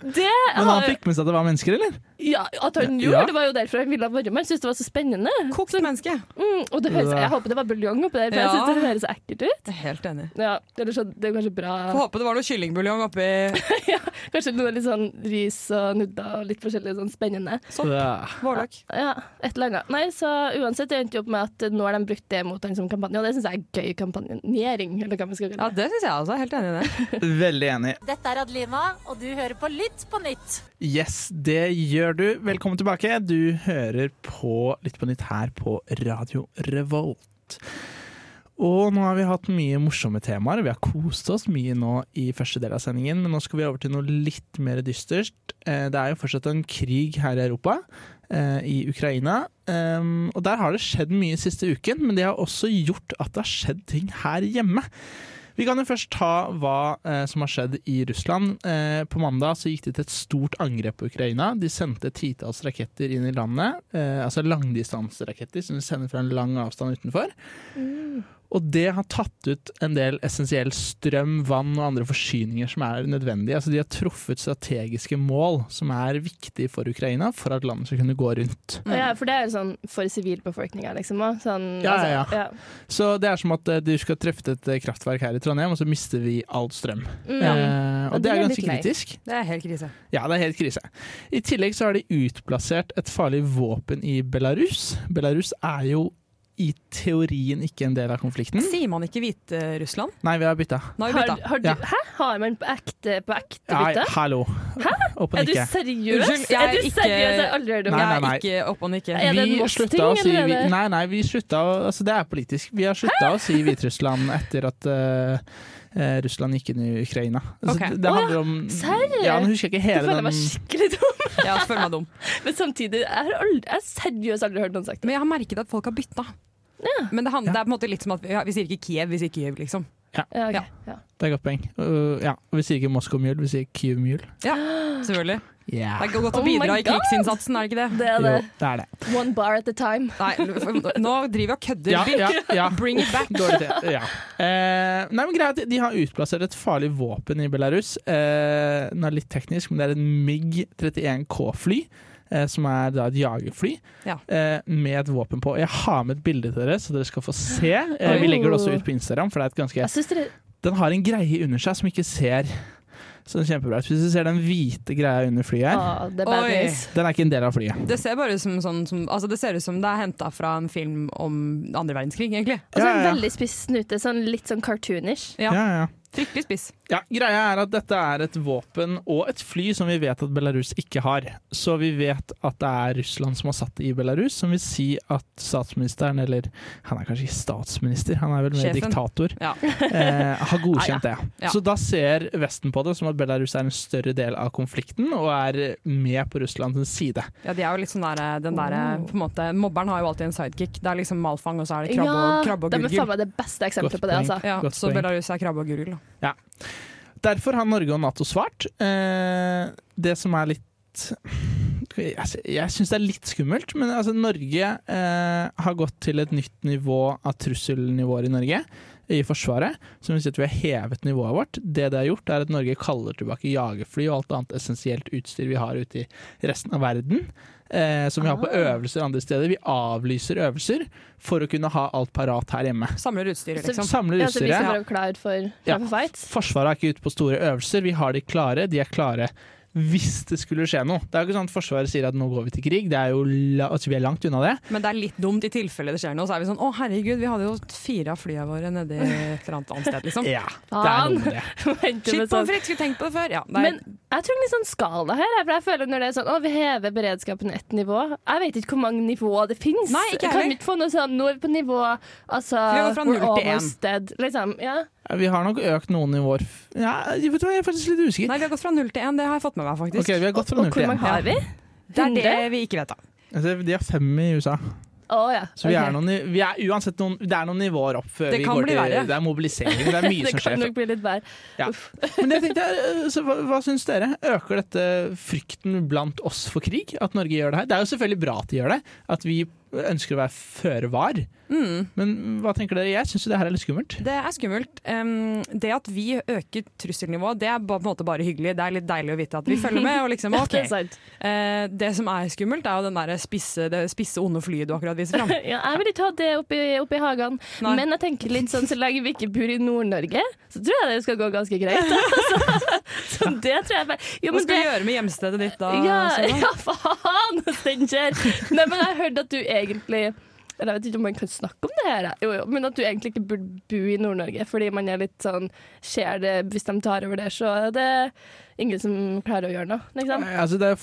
Speaker 7: det, det
Speaker 5: Men han
Speaker 7: har-
Speaker 5: fikk med seg at det var mennesker, eller?
Speaker 7: ja, At han gjorde
Speaker 5: Ja.
Speaker 7: det, var jo derfor han ville være med. Han syntes det var så spennende.
Speaker 6: Kokt menneske.
Speaker 7: Mm, og det høres, jeg håper det var buljong oppi der, for jeg
Speaker 6: Ja.
Speaker 7: syns det høres ekkelt ut.
Speaker 6: Jeg er helt enig.
Speaker 7: Ja, eller så, sånn- det er kanskje bra
Speaker 6: Får håpe det var noe kyllingbuljong oppi
Speaker 7: Kanskje noe litt sånn ris og nudler og litt forskjellig sånn spennende.
Speaker 5: Ja.
Speaker 6: Vårløk.
Speaker 7: Ja, et eller annet. Nei, så uansett, det endte jo opp med at nå har de brukt det mot den som kampanje, og det syns jeg er gøy kampanjering, eller hva vi skal
Speaker 6: Ja,
Speaker 7: kalle det.
Speaker 6: det syns jeg også. Jeg er Helt enig i det.
Speaker 5: Veldig enig.
Speaker 10: Dette er Adlina, og du hører på Lytt på nytt.
Speaker 5: Yes, det gjør du. Velkommen tilbake. Du hører på Litt på nytt her på Radio Revolt. Og nå har vi hatt mye morsomme temaer, og vi har kost oss mye nå i første del av sendingen, men nå skal vi over til noe litt mer dystert. Eh, Det er jo fortsatt en krig her i Europa, eh, i Ukraina, Ehm, og der har det skjedd mye siste uken, men det har også gjort at det har skjedd ting her hjemme. Vi kan jo først ta hva eh, som har skjedd i Russland. Eh, på mandag så gikk de til et stort angrep på Ukraina. De sendte et titalls raketter inn i landet. Eh, altså langdistanseraketter som de sender fra en lang avstand utenfor. Og det har tatt ut en del essensiell strøm, vann og andre forsyninger som er nødvendige. Altså de har truffet strategiske mål som er viktige for Ukraina for at landet skal kunne gå rundt.
Speaker 7: Og Ja, for det er jo sånn for sivilbefolkninga, liksom. også. Sånn,
Speaker 5: Mm. Ja, ja,
Speaker 7: altså, ja.
Speaker 5: Så det er som at eh, du skal treffe et eh, kraftverk her i Trondheim, og så mister vi all strøm.
Speaker 7: Mm.
Speaker 5: Eh, og det
Speaker 7: Og det
Speaker 5: er
Speaker 7: er
Speaker 5: ganske
Speaker 7: litt leit.
Speaker 5: kritisk.
Speaker 6: Det er helt krise.
Speaker 5: Ja, det er helt krise. I tillegg så har de utplassert et farlig våpen i Belarus. Belarus er jo i teorien ikke en del av konflikten.
Speaker 6: Sier man ikke Hviterussland?
Speaker 5: Nei, vi Mm. har bytta.
Speaker 6: Nå har vi
Speaker 7: Har,
Speaker 6: bytta.
Speaker 7: har du,
Speaker 5: Ja.
Speaker 7: Hæ? Har man på ekte, på ekte
Speaker 5: Ja,
Speaker 7: bytte?
Speaker 5: hallo. Opp og
Speaker 7: Er du
Speaker 5: nikke.
Speaker 7: seriøs?
Speaker 6: Unnskyld, jeg
Speaker 7: er du
Speaker 6: er ikke-
Speaker 7: seriøs? Jeg har aldri hørt om
Speaker 5: Nei,
Speaker 7: det.
Speaker 5: nei,
Speaker 6: Jeg
Speaker 5: nei.
Speaker 6: er ikke opp og nikke.
Speaker 7: Er det en
Speaker 5: Vi
Speaker 7: Moss-ting,
Speaker 5: slutta å si
Speaker 7: eller er
Speaker 5: vi,
Speaker 7: det-
Speaker 5: Nei, nei, vi slutta å Altså, det er politisk. Vi har slutta å si Hviterussland etter at eh, eh, Russland gikk inn i Ukraina. Altså,
Speaker 6: Ok.
Speaker 5: det, det
Speaker 7: Å, ja.
Speaker 5: handler om
Speaker 7: Serr?
Speaker 5: Ja, nå husker jeg ikke
Speaker 7: Jeg
Speaker 5: hele
Speaker 7: føler jeg
Speaker 5: den
Speaker 7: meg skikkelig dum,
Speaker 6: Ja, så føler jeg meg dum.
Speaker 7: men samtidig Jeg har aldri, jeg har seriøst aldri hørt noen sagt det.
Speaker 6: Men jeg har merket at folk har bytta. Men det, handler, det er på en måte litt som at vi, ja, vi sier ikke Kiev, vi sier Kiev, liksom.
Speaker 7: Ja, ok.
Speaker 6: Ja.
Speaker 7: ja.
Speaker 5: Det er et godt poeng. Uh, ja. Vi sier ikke Moskva-mjøl, vi sier Kyiv-mjøl.
Speaker 6: Ja, selvfølgelig.
Speaker 5: Yeah.
Speaker 6: Det er godt
Speaker 7: Oh
Speaker 6: å
Speaker 7: my
Speaker 6: bidra i
Speaker 7: God!
Speaker 6: krigsinnsatsen, er det ikke det?
Speaker 7: Det er
Speaker 5: Jo,
Speaker 7: det.
Speaker 5: det er det.
Speaker 7: One bar at a time.
Speaker 6: Nei, nå driver vi og kødder.
Speaker 5: Ja,
Speaker 6: Birk.
Speaker 5: ja, ja.
Speaker 6: (laughs) Bring it back.
Speaker 5: Dårlig idé, (laughs) ja. Eh, nei, men greit, De har utplassert et farlig våpen i Belarus. Eh, den er litt teknisk, men det er en MIG-31K-fly. Eh, som er da et jagerfly
Speaker 6: Ja.
Speaker 5: eh, med et våpen på. Jeg har med et bilde til dere, så dere skal få se. Eh, vi legger det også ut på Instagram, for det er et ganske
Speaker 7: Jeg synes dere
Speaker 5: Den har en greie under seg som ikke ser sånn kjempebra ut. Hvis du ser den hvite greia under flyet her,
Speaker 6: Ah.
Speaker 7: Å, det er bad
Speaker 6: Oi.
Speaker 7: news.
Speaker 5: den er ikke en del av flyet.
Speaker 6: Det ser bare ut som, sånn, som, altså det ser ut som det er henta fra en film om andre verdenskrig, egentlig.
Speaker 7: Og så
Speaker 5: Ja,
Speaker 7: en
Speaker 5: ja, ja.
Speaker 7: veldig spiss snute, sånn litt sånn cartoonish.
Speaker 6: Ja.
Speaker 5: Ja, ja.
Speaker 6: Fryktelig spiss.
Speaker 5: Ja, Greia er at dette er et våpen og et fly som vi vet at Belarus ikke har. Så vi vet at det er Russland som har satt det i Belarus, som vil si at statsministeren, eller han er kanskje ikke statsminister, han er vel mer
Speaker 6: Sjefen.
Speaker 5: diktator,
Speaker 6: Ja.
Speaker 5: (laughs)
Speaker 6: Ah,
Speaker 5: eh, har godkjent det.
Speaker 6: Ja.
Speaker 5: Så da ser Vesten på det som at Belarus er en større del av konflikten og er med på Russlands side.
Speaker 6: Ja, de er jo litt sånn der, den der,
Speaker 7: Oh.
Speaker 6: på en måte, Mobberen har jo alltid en sidekick. Det er liksom Malfang, og så er det krabbe og, krabbe og
Speaker 7: de er faen
Speaker 6: gurgel.
Speaker 7: meg det beste eksempelet
Speaker 5: Godt
Speaker 7: på det,
Speaker 5: poeng.
Speaker 7: altså.
Speaker 6: Ja,
Speaker 5: Godt
Speaker 6: så
Speaker 5: poeng.
Speaker 6: Belarus er krabbe og gurgel. da.
Speaker 5: Derfor har Norge og Nato svart. Eh, det som er litt Jeg, sy- jeg syns det er litt skummelt, men altså, Norge eh, har gått til et nytt nivå av trusselnivåer i Norge. I Forsvaret, som vil si at vi har hevet nivået vårt. Det det har gjort, er at Norge kaller tilbake jagerfly og alt annet essensielt utstyr vi har ute i resten av verden. Eh, som vi har på
Speaker 7: Ah.
Speaker 5: øvelser andre steder. Vi avlyser øvelser for å kunne ha alt parat her hjemme.
Speaker 6: Samler utstyret,
Speaker 7: Så-
Speaker 6: liksom.
Speaker 5: Samler
Speaker 7: Ja, så vi
Speaker 5: utstyret.
Speaker 7: skal være klar for,
Speaker 5: Ja.
Speaker 7: for fight.
Speaker 5: Forsvaret er ikke ute på store øvelser. Vi har de klare. De er klare hvis det skulle skje noe. Det er jo ikke sånn at Forsvaret sier at nå går vi til krig. Det er jo la altså, vi er langt unna det.
Speaker 6: Men det er litt dumt i tilfelle det skjer noe. Så er vi sånn å herregud, vi hadde jo fire av flya våre nedi et eller annet annet sted, liksom.
Speaker 5: Ja, det er noe med det.
Speaker 7: (laughs) Venter
Speaker 6: Shit
Speaker 7: med
Speaker 6: på
Speaker 7: sånn.
Speaker 6: frekk, skulle tenkt på det før. Ja, det er,
Speaker 7: Men jeg tror en litt sånn skala her, jeg, for jeg føler når det er sånn å, vi hever beredskapen ett nivå Jeg vet ikke hvor mange nivåer det fins.
Speaker 6: Nei, ikke jeg
Speaker 7: Kan
Speaker 6: heller.
Speaker 7: vi ikke få noe sånn Nå er vi på nivå Altså,
Speaker 6: Vi går fra
Speaker 7: we're
Speaker 6: null til en.
Speaker 7: almost dead, liksom. Ja.
Speaker 5: Ja, Vi har nok økt noen nivåer f- ja, vet du hva, Jeg er faktisk litt usikker.
Speaker 6: nei, vi har gått fra null til én, det har jeg fått med meg, faktisk.
Speaker 5: Ok, Vi har gått fra
Speaker 7: Og
Speaker 5: null
Speaker 7: hvor
Speaker 5: til
Speaker 7: mange
Speaker 5: én.
Speaker 7: har vi?
Speaker 6: Det er det
Speaker 7: 100?
Speaker 6: vi ikke vet, da.
Speaker 5: Altså, De har fem i USA.
Speaker 7: Å ja.
Speaker 5: Så vi er,
Speaker 7: ok.
Speaker 5: noen, ni- vi er uansett noen, det er noen nivåer opp før
Speaker 6: Det
Speaker 5: vi
Speaker 6: kan
Speaker 5: går
Speaker 6: bli
Speaker 5: til
Speaker 6: verre.
Speaker 5: Det er mobilisering. Det er mye
Speaker 7: (laughs) Det
Speaker 5: som
Speaker 7: kan
Speaker 5: skjer.
Speaker 7: nok bli litt verre.
Speaker 5: Men det tenkte jeg, eh, så hva, hva syns dere? Øker dette frykten blant oss for krig? At Norge gjør det her? Det er jo selvfølgelig bra at de gjør det, at vi ønsker å være føre var. Men hva tenker dere? Jeg syns jo det her er litt skummelt.
Speaker 6: Mm. Det er skummelt. Um, det at vi øker trusselnivået, det er ba- på en måte bare hyggelig. Det er litt deilig å vite at vi følger med. Og
Speaker 7: (laughs)
Speaker 6: liksom, ok.
Speaker 7: Det er sant.
Speaker 6: Eh, det som er skummelt, er jo den der spisse, det spisse, onde flyet du akkurat viser
Speaker 7: (laughs)
Speaker 6: fram.
Speaker 7: Ja, jeg vil ikke ha det oppi, oppi hagen.
Speaker 6: Nei.
Speaker 7: (laughs) Men jeg tenker litt sånn, så lenge vi ikke bor i Nord-Norge, så tror jeg det skal gå ganske greit. Så det tror jeg er feil. Jo,
Speaker 6: Hva
Speaker 7: men
Speaker 6: skal
Speaker 7: det,
Speaker 6: vi gjøre med hjemstedet ditt da?
Speaker 7: ja,
Speaker 6: Selma?
Speaker 7: ja, faen, (laughs) Steinkjer! Nei, men jeg hørte at du egentlig eller Jeg vet ikke om man kan snakke om det her, jeg. jo, jo, men at du egentlig ikke burde bo i Nord-Norge, fordi man er litt sånn Skjer det hvis de tar over der, så er det ingen som klarer å gjøre noe, liksom.
Speaker 5: Eh, Altså, det er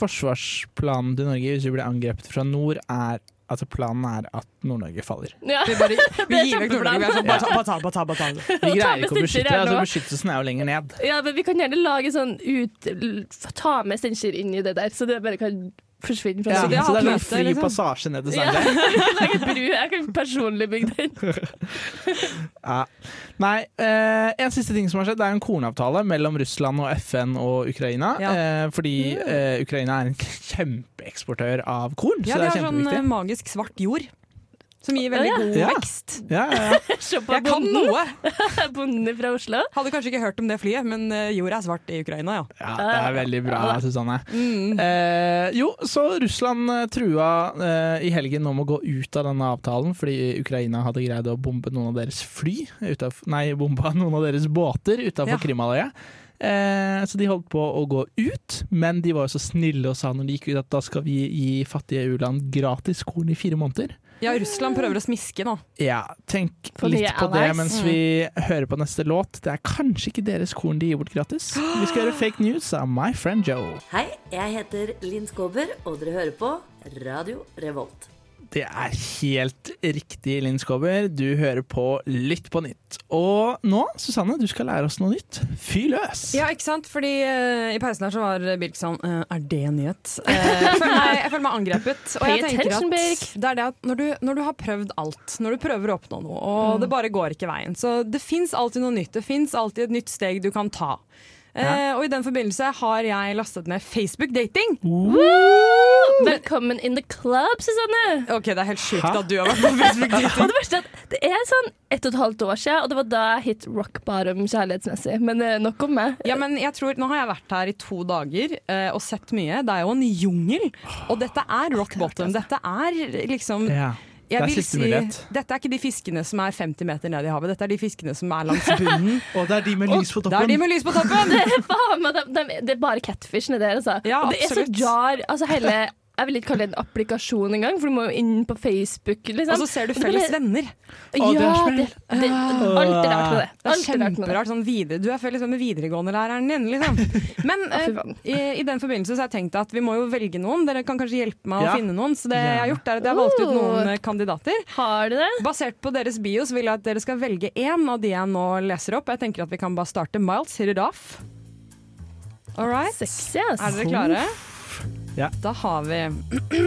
Speaker 5: forsvarsplanen til Norge hvis vi blir angrepet fra nord, er Altså, planen er at Nord-Norge faller.
Speaker 7: Ja. (laughs)
Speaker 6: Vi, bare, vi
Speaker 7: er
Speaker 6: gir vekk Nord-Norge. Vi er sånn,
Speaker 5: Ja.
Speaker 6: bare ta, bare ta, bare ta, bare ta.
Speaker 5: Vi
Speaker 7: Ta
Speaker 5: greier
Speaker 7: med
Speaker 5: ikke å
Speaker 7: Steinkjer
Speaker 5: beskytte,
Speaker 7: her
Speaker 5: altså
Speaker 7: nå.
Speaker 5: beskyttelsen er jo lenger ned.
Speaker 7: Ja, men vi kan gjerne lage sånn ut f- Ta med Steinkjer inn i det der, så det bare kan forsvinne fra
Speaker 5: Ja, Sånn,
Speaker 6: Så
Speaker 5: så det
Speaker 6: det er
Speaker 5: er sånn
Speaker 6: hatt møte,
Speaker 5: fri
Speaker 6: liksom.
Speaker 5: passasje ned til
Speaker 7: Ja,
Speaker 5: Steinkjer.
Speaker 7: (laughs) lage bru. Jeg kan personlig bygge den.
Speaker 5: Ja. Nei, eh, en siste ting som har skjedd, det er en kornavtale mellom Russland og FN og Ukraina.
Speaker 6: Ja. Mm.
Speaker 5: Eh, fordi eh, Ukraina er en (laughs) kjempeeksportør av korn,
Speaker 6: Ja,
Speaker 5: så det er
Speaker 6: de har sånn eh,
Speaker 5: kjempeviktig.
Speaker 6: magisk svart jord. Som gir veldig
Speaker 7: Ja.
Speaker 6: god
Speaker 5: Ja.
Speaker 6: vekst.
Speaker 5: Ja, ja, ja.
Speaker 7: Se på
Speaker 6: Jeg kan
Speaker 7: bonden.
Speaker 6: noe!
Speaker 7: Bonden fra Oslo.
Speaker 6: Hadde kanskje ikke hørt om det flyet, men eh, jorda er svart i Ukraina, ja. (laughs)
Speaker 5: ja, det er veldig bra, Susanne.
Speaker 6: Mm.
Speaker 5: Eh, jo, så Russland eh, trua eh, i helgen om å gå ut av denne avtalen fordi Ukraina hadde greid å bombe noen av deres fly utaf, Nei, bomba noen av deres båter utafor
Speaker 6: Ja.
Speaker 5: Krimhalvøya. Eh, så de holdt på å gå ut, men de var jo så snille og sa når de gikk ut at da skal vi gi fattige u-land gratis korn i fire måneder.
Speaker 6: Ja, Russland prøver å smiske nå.
Speaker 5: Ja, tenk
Speaker 7: For de
Speaker 5: litt
Speaker 7: er
Speaker 5: på det
Speaker 7: allies. Mm.
Speaker 5: mens vi hører på neste låt. Det er kanskje ikke deres korn de gir bort gratis. Vi
Speaker 7: (gasps)
Speaker 5: skal gjøre fake news av My Friend Joe.
Speaker 11: Hei, jeg heter Linn Skåber, og dere hører på Radio Revolt.
Speaker 5: Det er helt riktig, Linn Skåber. Du hører på Lytt på nytt. Og nå, Susanne, du skal lære oss noe nytt. Fyr løs!
Speaker 6: Ja, ikke sant? Fordi eh, i pausen her så var Birk sånn eh, Er det en nyhet? Eh, (laughs) jeg, føler meg, jeg føler meg angrepet. Og jeg
Speaker 7: Pay
Speaker 6: tenker at
Speaker 7: attention, Birk.
Speaker 6: det er det at når du, når du har prøvd alt, når du prøver å oppnå noe, og det bare går ikke veien Så det fins alltid noe nytt. Det fins alltid et nytt steg du kan ta. Eh, og i den forbindelse har jeg lastet ned Facebook-dating.
Speaker 7: Velkommen in the club, Susanne!
Speaker 6: Ok, Det er helt sjukt
Speaker 5: Hæ?
Speaker 6: at du har vært på Facebook-dating.
Speaker 7: Og det verste er at det er sånn ett og et halvt år siden, og det var da jeg hit rock bottom kjærlighetsmessig. Men eh, nok om meg.
Speaker 6: Ja, men jeg tror, Nå har jeg vært her i to dager eh, og sett mye. Det er jo en jungel. Og dette er rock bottom. Dette er liksom
Speaker 5: Ja.
Speaker 6: Jeg
Speaker 5: Det er
Speaker 6: vil
Speaker 5: siste mulighet.
Speaker 6: Dette er ikke de fiskene som er 50 meter ned i havet, dette er de fiskene som er
Speaker 5: (laughs)
Speaker 6: langs bunnen.
Speaker 5: Og det er de med lys på
Speaker 6: det er de med lys på toppen!
Speaker 7: Det er, faen, meg, de, de, det er bare catfishene der, altså.
Speaker 6: Ja,
Speaker 7: og det er så
Speaker 6: absolutt.
Speaker 7: jar. Altså hele Jeg vil ikke kalle det en applikasjon engang, for du må jo inn på Facebook, liksom.
Speaker 6: Og så ser du
Speaker 7: (laughs) Og det
Speaker 6: felles
Speaker 7: bare-
Speaker 6: venner.
Speaker 5: Å, det er
Speaker 7: Ja,
Speaker 5: smell.
Speaker 7: det, det, alt er rart med det.
Speaker 6: Ah, Det er
Speaker 7: Alt er rart med det.
Speaker 6: kjemperart. Sånn videre- du er felles venn med videregående-læreren din, liksom. Men eh,
Speaker 7: fy faen.
Speaker 6: i, i den forbindelse så har jeg tenkt at vi må jo velge noen. Dere kan kanskje hjelpe meg
Speaker 5: Ja.
Speaker 6: å finne noen. Så det jeg har gjort, er at jeg har
Speaker 7: Gjerne.
Speaker 6: valgt ut
Speaker 7: Oh.
Speaker 6: noen eh, kandidater.
Speaker 7: Har du det?
Speaker 6: Basert på deres bios vil jeg at dere skal velge én av de jeg nå leser opp. Jeg tenker at vi kan bare starte. Miles, hit it off. All right.
Speaker 7: Sexy, ass.
Speaker 6: Er dere klare?
Speaker 5: Ja.
Speaker 6: Da har vi (clears throat)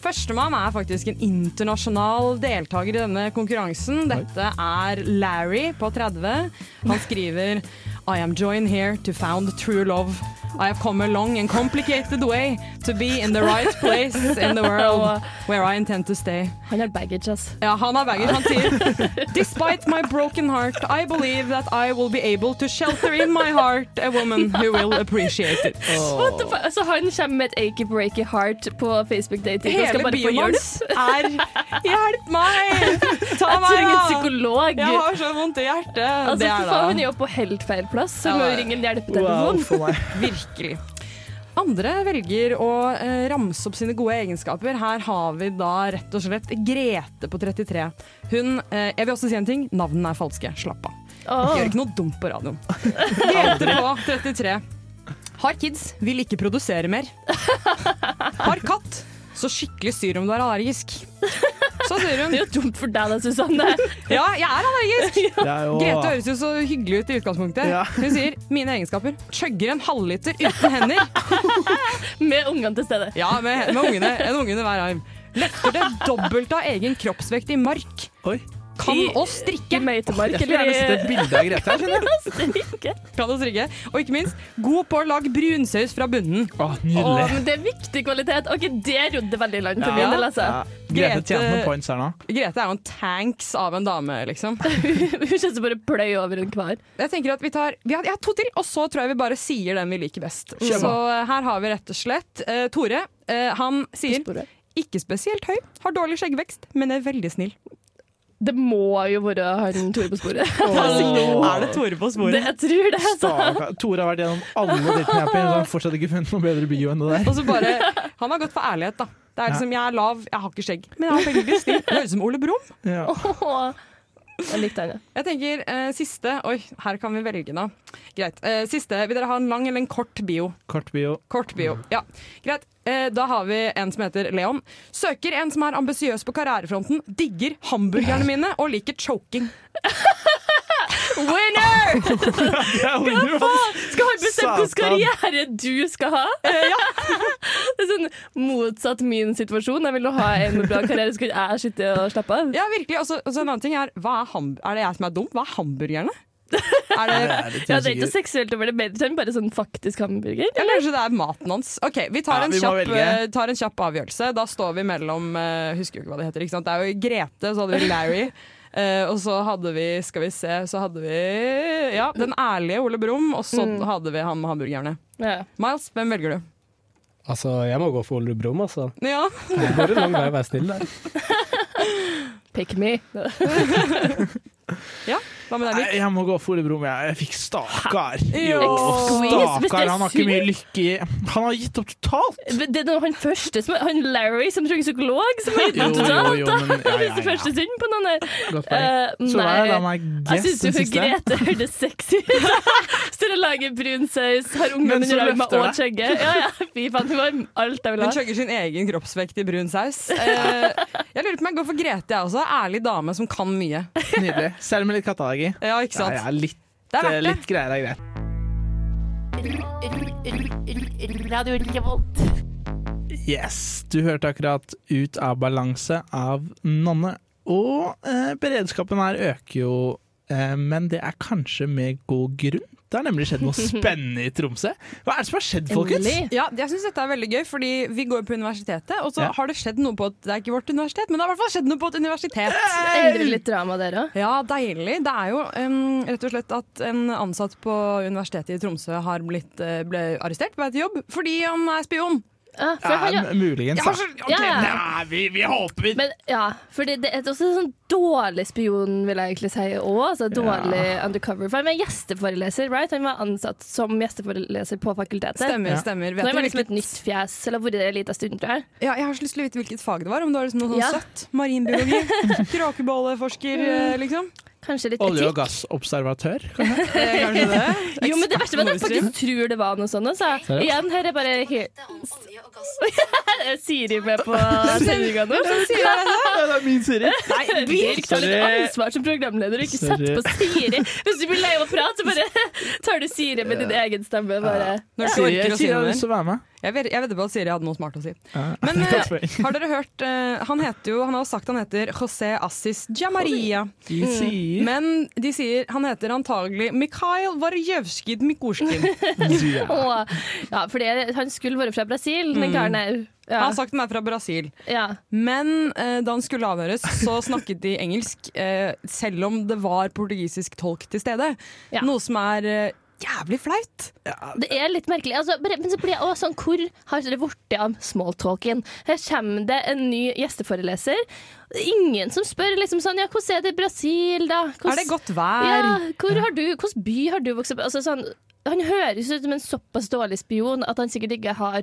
Speaker 6: Førstemann er faktisk en internasjonal deltaker i denne konkurransen. Dette er Larry på 30. Han skriver I am joined here to found true love. I have come a long and complicated way to be in the right place in the world where I intend to stay.
Speaker 7: Han har baggage, ass.
Speaker 6: Ja, han har baggage. Han sier Despite my broken heart, I believe that I will be able to shelter in my heart a woman who will appreciate it.
Speaker 7: What the fuck? Altså, han kommer med et achy breaky heart på Facebook-dating og skal
Speaker 6: Hele
Speaker 7: bare få
Speaker 6: bioen
Speaker 7: hjelp.
Speaker 6: hans er Hjelp meg! Ta
Speaker 7: Jeg
Speaker 6: meg
Speaker 7: trenger en
Speaker 6: av!
Speaker 7: psykolog.
Speaker 6: Jeg har så vondt i hjertet.
Speaker 7: Altså,
Speaker 6: det
Speaker 7: for
Speaker 6: er
Speaker 7: faen, hun
Speaker 6: det.
Speaker 7: er jo på helt feil plass, så
Speaker 6: Ja,
Speaker 7: hun må
Speaker 6: det
Speaker 7: jo
Speaker 6: er
Speaker 7: ringe en
Speaker 5: Wow,
Speaker 7: hjelpetelefon.
Speaker 5: for meg.
Speaker 6: Virkelig. Andre velger å eh, ramse opp sine gode egenskaper. Her har vi da rett og slett Grete på 33. Hun eh, Jeg vil også si en ting. Navnene er falske. Slapp av.
Speaker 7: Åh.
Speaker 6: Gjør ikke noe dumt på
Speaker 7: (laughs)
Speaker 6: radioen. Grete på 33. Har kids, vil ikke produsere mer. Har katt, så skikkelig styr om du er allergisk. Så sier
Speaker 7: (laughs)
Speaker 6: hun
Speaker 7: Det er jo dumt for deg da, Susanne.
Speaker 6: ja, jeg er allergisk.
Speaker 5: Det er jo
Speaker 6: Grete høres jo så hyggelig ut i utgangspunktet.
Speaker 5: Ja.
Speaker 6: Hun sier mine egenskaper. Chugger en halvliter uten hender.
Speaker 7: Med ungene til stede.
Speaker 6: Ja, med, med ungene, en unge under hver arm. Løfter det dobbelte av egen kroppsvekt i mark.
Speaker 5: Oi.
Speaker 6: Kan
Speaker 7: I-
Speaker 6: å strikke.
Speaker 7: I Meitemark,
Speaker 5: Jeg skulle gjerne sett et
Speaker 7: eller
Speaker 5: bilde av Grete her, skjønner jeg.
Speaker 6: (laughs)
Speaker 7: Strikke.
Speaker 6: Kan å strikke. Og ikke minst, god på å lage brunsaus fra bunnen.
Speaker 5: Å,
Speaker 7: Åh,
Speaker 5: nydelig.
Speaker 7: men det er viktig kvalitet. Ok, det rodde veldig langt for
Speaker 6: Ja.
Speaker 7: min del, altså.
Speaker 5: Ja. Grete tjente
Speaker 6: Grete-
Speaker 5: noen points her nå.
Speaker 6: Grete er jo en tanks av en dame, liksom.
Speaker 7: Hun kjennes som bare pløy over en kvar.
Speaker 6: Jeg tenker at vi tar vi har, Jeg har to til, og så tror jeg vi bare sier den vi liker best.
Speaker 5: Kjør på.
Speaker 6: Så eh, her har vi rett og slett eh, Tore. eh, han sier
Speaker 7: Sporet.
Speaker 6: Ikke spesielt høy, har dårlig skjeggvekst, men er veldig snill.
Speaker 7: Det må jo være han Tore på sporet.
Speaker 6: Er det Tore på sporet?
Speaker 7: (laughs) Det, jeg tror det. altså. Så.
Speaker 5: Stakkar. Tore har vært gjennom alle datingapper og har fortsatt ikke funnet noe bedre bio enn det der.
Speaker 6: Og så bare Han har gått for ærlighet, da. Det er liksom, Jeg er lav, jeg har ikke skjegg, men jeg er veldig snill. Det Høres ut som Ole Brumm.
Speaker 5: Ja.
Speaker 7: Åh, Jeg likte han, ja.
Speaker 6: Jeg tenker eh, siste Oi, her kan vi velge, da. Greit. Eh, siste. Vil dere ha en lang eller en kort bio?
Speaker 5: Kort bio.
Speaker 6: Kort bio.
Speaker 5: Mm.
Speaker 6: Ja, greit. Eh, Da har vi en som heter Leon. Søker en som er ambisiøs på karrierefronten, digger hamburgerne mine og liker choking. Winner!
Speaker 7: Skal han bestemme
Speaker 5: Satan.
Speaker 7: hvilken
Speaker 5: Eh,
Speaker 7: karriere du skal ha? (laughs) Det er sånn motsatt min situasjon. Jeg vil jo ha en med bra karriere, så kan jeg sitte og slappe av.
Speaker 6: Ja, virkelig. Og så og så en annen ting er hva er, ham er det jeg som er dum? Hva er hamburgerne? Er det,
Speaker 5: (laughs)
Speaker 7: Ja, det er ikke noe seksuelt over det, men det er bare sånn faktisk hamburger.
Speaker 6: eller kanskje det er maten hans. Ok, Vi tar
Speaker 5: Ja,
Speaker 6: en,
Speaker 5: vi må
Speaker 6: kjapp,
Speaker 5: velge.
Speaker 6: eh, tar en kjapp avgjørelse. Da står vi mellom eh, Husker jo ikke hva det heter. ikke sant? Det er jo Grete, så hadde vi Larry. eh, og så hadde vi Skal vi se, så hadde vi Ja, den ærlige Ole Brumm, og så
Speaker 5: Mm.
Speaker 6: hadde vi han med hamburgerne.
Speaker 7: Ja.
Speaker 6: Miles, hvem velger du?
Speaker 8: Altså, jeg må gå for Ole Brumm, altså.
Speaker 6: Ja.
Speaker 8: Det går en lang vei å være snill der.
Speaker 7: Pick me.
Speaker 6: Hva med deg,
Speaker 5: Nei,
Speaker 6: Nick?
Speaker 5: jeg må gå for Ole Brumm. Jeg jeg fikk stakkar.
Speaker 6: Jo.
Speaker 7: Squeeze, hvis det er
Speaker 5: stakkar. Han har ikke mye lykke i Han har gitt opp totalt.
Speaker 7: Men Det er noe han første som Han Larry som trenger psykolog, som har gitt
Speaker 5: (laughs) Jo,
Speaker 7: opp
Speaker 5: jo,
Speaker 7: totalt.
Speaker 5: jo,
Speaker 7: da.
Speaker 5: men- ja, ja,
Speaker 7: Hvis det
Speaker 5: ja.
Speaker 7: første synd på noen her.
Speaker 5: Godt poeng.
Speaker 7: Eh,
Speaker 5: Så da er det da
Speaker 7: nei.
Speaker 5: meg
Speaker 7: Jeg
Speaker 5: guess
Speaker 7: syns jo
Speaker 5: den siste.
Speaker 7: Grete hørtes sexy ut.
Speaker 5: (laughs)
Speaker 7: Står og lager brun saus, har
Speaker 5: Men så
Speaker 7: ungen under armen
Speaker 5: løfter
Speaker 7: og
Speaker 5: det.
Speaker 7: skjegget. Ja, ja, fy faen, hun var alt jeg ville
Speaker 6: Hun
Speaker 7: ha.
Speaker 6: chugger sin egen kroppsvekt i brun saus. Eh, jeg lurer på om jeg går for Grete, jeg også. Ærlig dame som kan mye.
Speaker 5: Nydelig. Selv med litt katteallergi.
Speaker 6: Ja, ikke
Speaker 5: Ja,
Speaker 6: sant?
Speaker 5: ja, litt,
Speaker 6: Det er
Speaker 5: eh,
Speaker 6: verdt det.
Speaker 5: litt greier er greit.
Speaker 10: Radio Revolt.
Speaker 5: Yes. Du hørte akkurat 'Ut av balanse' av Nonne. Og eh, beredskapen her øker jo, eh, men det er kanskje med god grunn. Det har nemlig skjedd noe spennende i Tromsø. Hva er det som har skjedd, folkens?
Speaker 7: Endelig.
Speaker 6: Ja, jeg syns dette er veldig gøy, fordi vi går på universitetet, og så
Speaker 5: Ja.
Speaker 6: har det skjedd noe på et Det er ikke vårt universitet, men det har i hvert fall skjedd noe på et universitet.
Speaker 7: Endelig litt drama der òg.
Speaker 6: Ja, deilig. Det er jo em, rett og slett at en ansatt på Universitetet i Tromsø har blitt, eh, ble arrestert på vei til jobb fordi han er spion.
Speaker 7: Ja, for han-
Speaker 5: Ja, m- muligens,
Speaker 6: Jeg
Speaker 5: da.
Speaker 6: har så,
Speaker 7: Ja,
Speaker 6: ok,
Speaker 7: ja.
Speaker 5: Nei, vi, vi håper vi
Speaker 7: Men ja, for det, det er også en sånn dårlig spion, vil jeg egentlig si òg. Altså, dårlig undercover. For han var gjesteforeleser, right? Han var ansatt som gjesteforeleser på fakultetet.
Speaker 6: Stemmer,
Speaker 5: Ja.
Speaker 6: stemmer.
Speaker 7: Så
Speaker 6: Vet
Speaker 7: han
Speaker 6: du
Speaker 7: var liksom et
Speaker 6: hvilket-
Speaker 7: nytt fjes, eller har vært der en liten stund, tror jeg.
Speaker 6: Ja, jeg har så lyst til å vite hvilket fag det var. Om det var liksom noe sånn
Speaker 7: Ja.
Speaker 6: søtt. Marinbiologi. Kråkebolleforsker, eh, liksom.
Speaker 7: Kanskje litt
Speaker 5: Olje- og
Speaker 7: etikk.
Speaker 5: gassobservatør?
Speaker 6: Eh, kanskje det.
Speaker 7: Jo, men det verste var at jeg faktisk tror det var noe sånt. Så
Speaker 5: Seriøst?
Speaker 7: igjen, her er bare he Er Eh, Siri med (laughs) på sendinga nå.
Speaker 5: Ja, det er min Siri.
Speaker 7: Nei, Birk tar litt
Speaker 5: Sorry.
Speaker 7: ansvar som programleder og ikke
Speaker 5: Sorry.
Speaker 7: setter på Siri. Hvis du blir lei av å prate, så bare (laughs) tar du Siri med din egen stemme. Bare.
Speaker 6: Når du ikke
Speaker 5: Siri,
Speaker 6: orker å si
Speaker 5: Siri har
Speaker 6: noe
Speaker 5: lyst
Speaker 6: mer.
Speaker 5: til å være med.
Speaker 6: Jeg ved- jeg vedder på at Siri hadde noe smart å si.
Speaker 5: Ja. (laughs)
Speaker 6: Men eh,
Speaker 5: Godt poeng.
Speaker 6: har dere hørt eh, Han heter jo, han har sagt han heter José Assis Jamaria.
Speaker 5: De sier
Speaker 6: Men de sier han heter antagelig Mikhail Varjevskid Mikorskin.
Speaker 7: Og, ja, for det, han skulle vært fra Brasil, den karen her. Ja,
Speaker 6: Mm. Han har sagt han er fra Brasil.
Speaker 7: ja.
Speaker 6: Men eh, da han skulle
Speaker 7: (laughs)
Speaker 6: avhøres, så snakket de engelsk, eh, selv om det var portugisisk tolk til stede.
Speaker 7: Ja.
Speaker 6: Noe som er eh, jævlig flaut.
Speaker 7: Det er litt merkelig. Altså, bare, men så blir jeg også sånn Hvor har det blitt av smalltalken? Her kommer det en ny gjesteforeleser. Ingen som spør liksom sånn Ja, hvordan er det i Brasil, da? Hvordan,
Speaker 6: Er det godt vær?
Speaker 7: Ja, hvor har du, hvordan by har du vokst opp i? altså, sånn, Han høres ut som en såpass dårlig spion at han sikkert ikke har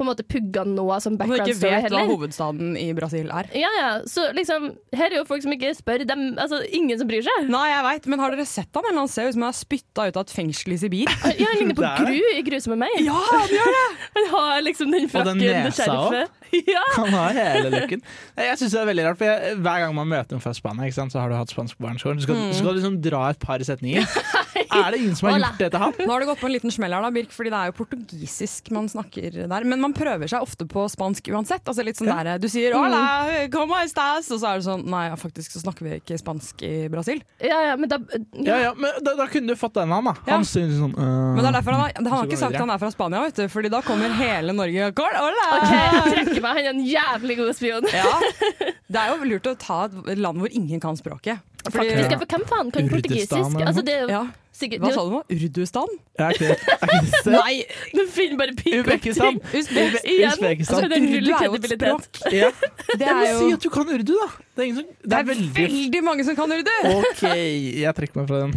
Speaker 7: på en måte pugga noe som
Speaker 6: Om du
Speaker 7: background
Speaker 6: ikke
Speaker 7: story
Speaker 6: vet hva
Speaker 7: heller.
Speaker 6: hovedstaden i Brasil er.
Speaker 7: Ja, ja, så liksom, her er jo folk som ikke spør. Dem, altså, ingen som bryr seg.
Speaker 6: Nei, jeg vet, men har dere sett han? Eller han ser ut som han er spytta ut av et fengsel i
Speaker 7: (laughs)
Speaker 6: Sibir.
Speaker 7: Ja, han ligner på
Speaker 5: Der.
Speaker 7: Gru i Gru som er meg.
Speaker 6: Ja, han gjør det!
Speaker 7: Han har liksom den frakken,
Speaker 5: den
Speaker 7: det
Speaker 5: nesa
Speaker 7: skjerfet. (laughs) Ja.
Speaker 5: Han har hele looken. Nei, Jeg synes det er veldig rart, for jeg, Hver gang man møter noen fra Spania, ikke sant, så har du hatt spansk på barneskolen. Så skal,
Speaker 6: Mm.
Speaker 5: så skal du liksom dra et par setninger. Er det ingen som har
Speaker 7: Hola.
Speaker 5: gjort det til han?
Speaker 6: Nå har det gått på en liten smell her, da, Birk, fordi det er jo portugisisk man snakker der. Men man prøver seg ofte på spansk uansett. Altså litt sånn der, Du
Speaker 7: Mm.
Speaker 6: sier 'hola, como estás?' og så er det sånn Nei, faktisk så snakker vi ikke spansk i Brasil.
Speaker 7: Ja, ja, men da
Speaker 5: Ja, ja, men Da, da kunne du fått den han, da.
Speaker 6: Ja.
Speaker 5: Han synes sånn øh,
Speaker 6: Men det er derfor han, har- han
Speaker 5: Så
Speaker 6: har
Speaker 5: går
Speaker 6: ikke sagt
Speaker 5: videre.
Speaker 6: han er fra Spania, vet du, fordi da kommer hele Norge Kål,
Speaker 7: OK,
Speaker 6: hola!
Speaker 7: jeg trekker meg. Han er en jævlig god spion.
Speaker 6: Ja, det er jo lurt å ta et land hvor ingen kan språket.
Speaker 7: Faktisk,
Speaker 5: Ja.
Speaker 7: for hvem faen kan
Speaker 5: Urdestan
Speaker 7: portugisisk?
Speaker 5: eller
Speaker 7: Altså,
Speaker 5: noe?
Speaker 7: det er jo
Speaker 6: Ja.
Speaker 7: sikkert
Speaker 6: Hva
Speaker 7: det er
Speaker 6: sa
Speaker 7: jo-
Speaker 6: du nå? Urdustan?
Speaker 5: Er ikke det er ikke det sted?
Speaker 6: Nei!
Speaker 7: Du finner bare pikk opp
Speaker 5: Usbekistan.
Speaker 7: ting.
Speaker 6: Usbek.
Speaker 7: Igjen,
Speaker 5: Usbekistan.
Speaker 7: altså, det er null
Speaker 6: Urdu er jo et
Speaker 7: kredibilitet.
Speaker 5: Ja.
Speaker 6: Det
Speaker 5: Ja,
Speaker 6: er
Speaker 5: men
Speaker 6: jo
Speaker 5: Si at du kan urdu, da! Det er, ingen som, det er veldig
Speaker 6: veldig mange som kan urdu!
Speaker 5: OK, jeg trekker meg fra den.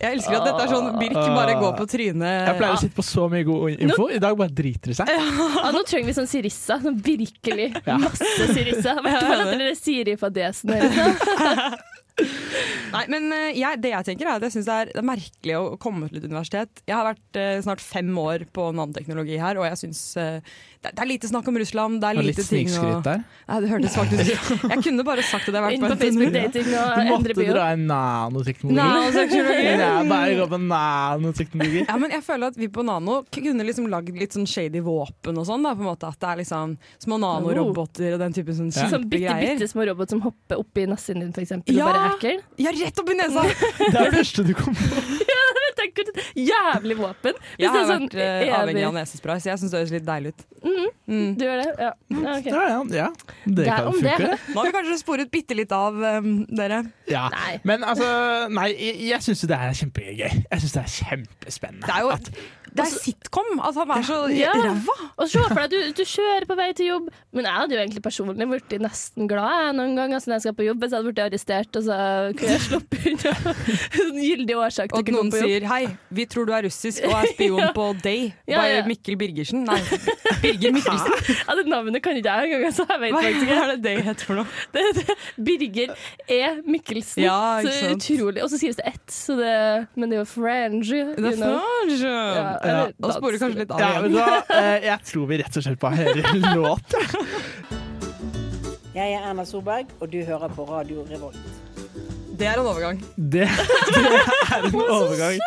Speaker 6: Jeg elsker at dette er sånn Birk bare går på trynet.
Speaker 5: Jeg pleier å sitte på så mye god info. I dag bare driter det seg.
Speaker 7: Ja, nå trenger vi sånn Sirissa. Sånn virkelig masse Sirissa.
Speaker 6: (laughs)
Speaker 7: Vet du hva den der Siri-fadesen er?
Speaker 6: Nei, men eh, jeg, det jeg tenker er at jeg synes det er, det er merkelig å komme til et universitet. Jeg har vært eh, snart fem år på nanoteknologi her, og jeg synes eh, det, det er lite snakk om Russland. Det er
Speaker 5: Og
Speaker 6: lite
Speaker 5: litt
Speaker 6: ting å-
Speaker 5: snikskryt der.
Speaker 6: Nei, det hørtes faktisk Jeg kunne bare sagt at jeg har vært
Speaker 7: Inn
Speaker 6: på
Speaker 7: på
Speaker 6: en
Speaker 7: Facebook Dating
Speaker 5: Du
Speaker 7: og endre
Speaker 5: måtte
Speaker 7: bio.
Speaker 5: dra inn nanoteknologi.
Speaker 6: Nanoteknologi.
Speaker 5: Ja, bare gå på nanoteknologi.
Speaker 6: Ja, men jeg føler at vi på Nano k- kunne liksom lagd litt sånn shady våpen og sånn. da, på en måte. At det er liksom små nanoroboter og den type sånn kjipe
Speaker 7: Sånn bitte,
Speaker 6: greier.
Speaker 7: bitte små robot som hopper oppi nesen din, for eksempel,
Speaker 6: Ja.
Speaker 7: og bare hacker.
Speaker 6: Ja, rett opp i nesa!
Speaker 7: (laughs)
Speaker 5: Det er det første du kom på.
Speaker 7: Tenk et jævlig våpen! Hvis
Speaker 6: Jeg
Speaker 7: det
Speaker 6: har
Speaker 7: er sånn
Speaker 6: vært eh, avhengig av
Speaker 7: evig-
Speaker 6: nesespray, så jeg syns det høres litt deilig ut.
Speaker 7: Du gjør det? Ja. ja ok.
Speaker 5: (laughs) Ja, ja, ja. Det
Speaker 7: Det er
Speaker 5: kan
Speaker 7: om det.
Speaker 5: funke.
Speaker 6: Nå har vi kanskje sporet bitte litt av em, dere.
Speaker 5: Ja.
Speaker 7: Nei.
Speaker 5: Men altså, nei, jeg, jeg syns jo det er kjempegøy. Jeg syns det er kjempespennende.
Speaker 6: Det er jo
Speaker 5: At-
Speaker 6: det er sitcom! Altså, han er så
Speaker 7: Ja.
Speaker 6: ræva!
Speaker 7: Og se for deg at du, du kjører på vei til jobb, men jeg hadde jo egentlig personlig blitt nesten glad jeg, noen ganger altså, når jeg skal på jobb, hvis jeg hadde blitt arrestert og så kunne jeg sluppet unna.
Speaker 6: (laughs)
Speaker 7: Sånn gyldig årsak
Speaker 6: Og
Speaker 7: til
Speaker 6: at
Speaker 7: ikke å
Speaker 6: noen
Speaker 7: gå på jobb.
Speaker 6: sier 'hei, vi tror du er russisk og er spion på Day'
Speaker 7: (laughs) Ja, ja.
Speaker 6: by Mikkel Birgersen. Nei, Birger Mikkelsen.
Speaker 7: Ja, det navnet kan ikke jeg engang, så jeg vet
Speaker 6: Hva
Speaker 7: faktisk ikke.
Speaker 6: er det Day heter for noe?
Speaker 7: Det heter Birger E. Mikkelsen.
Speaker 6: Ja, ikke
Speaker 7: så
Speaker 6: sant.
Speaker 7: utrolig. Og så skrives det ett, så det, men det er jo French.
Speaker 6: Det
Speaker 7: You
Speaker 6: er
Speaker 7: know.
Speaker 6: Frange.
Speaker 7: Ja,
Speaker 6: Ja,
Speaker 7: eller
Speaker 6: Da sporer
Speaker 7: dansk.
Speaker 6: kanskje litt av
Speaker 5: Ja,
Speaker 6: igjen.
Speaker 5: men da, eh, jeg tror vi rett og slett bare hører en (laughs) låt.
Speaker 10: Jeg er Erna Solberg, og du hører på Radio Revolt.
Speaker 6: Det er en overgang.
Speaker 5: Det, det er en overgang.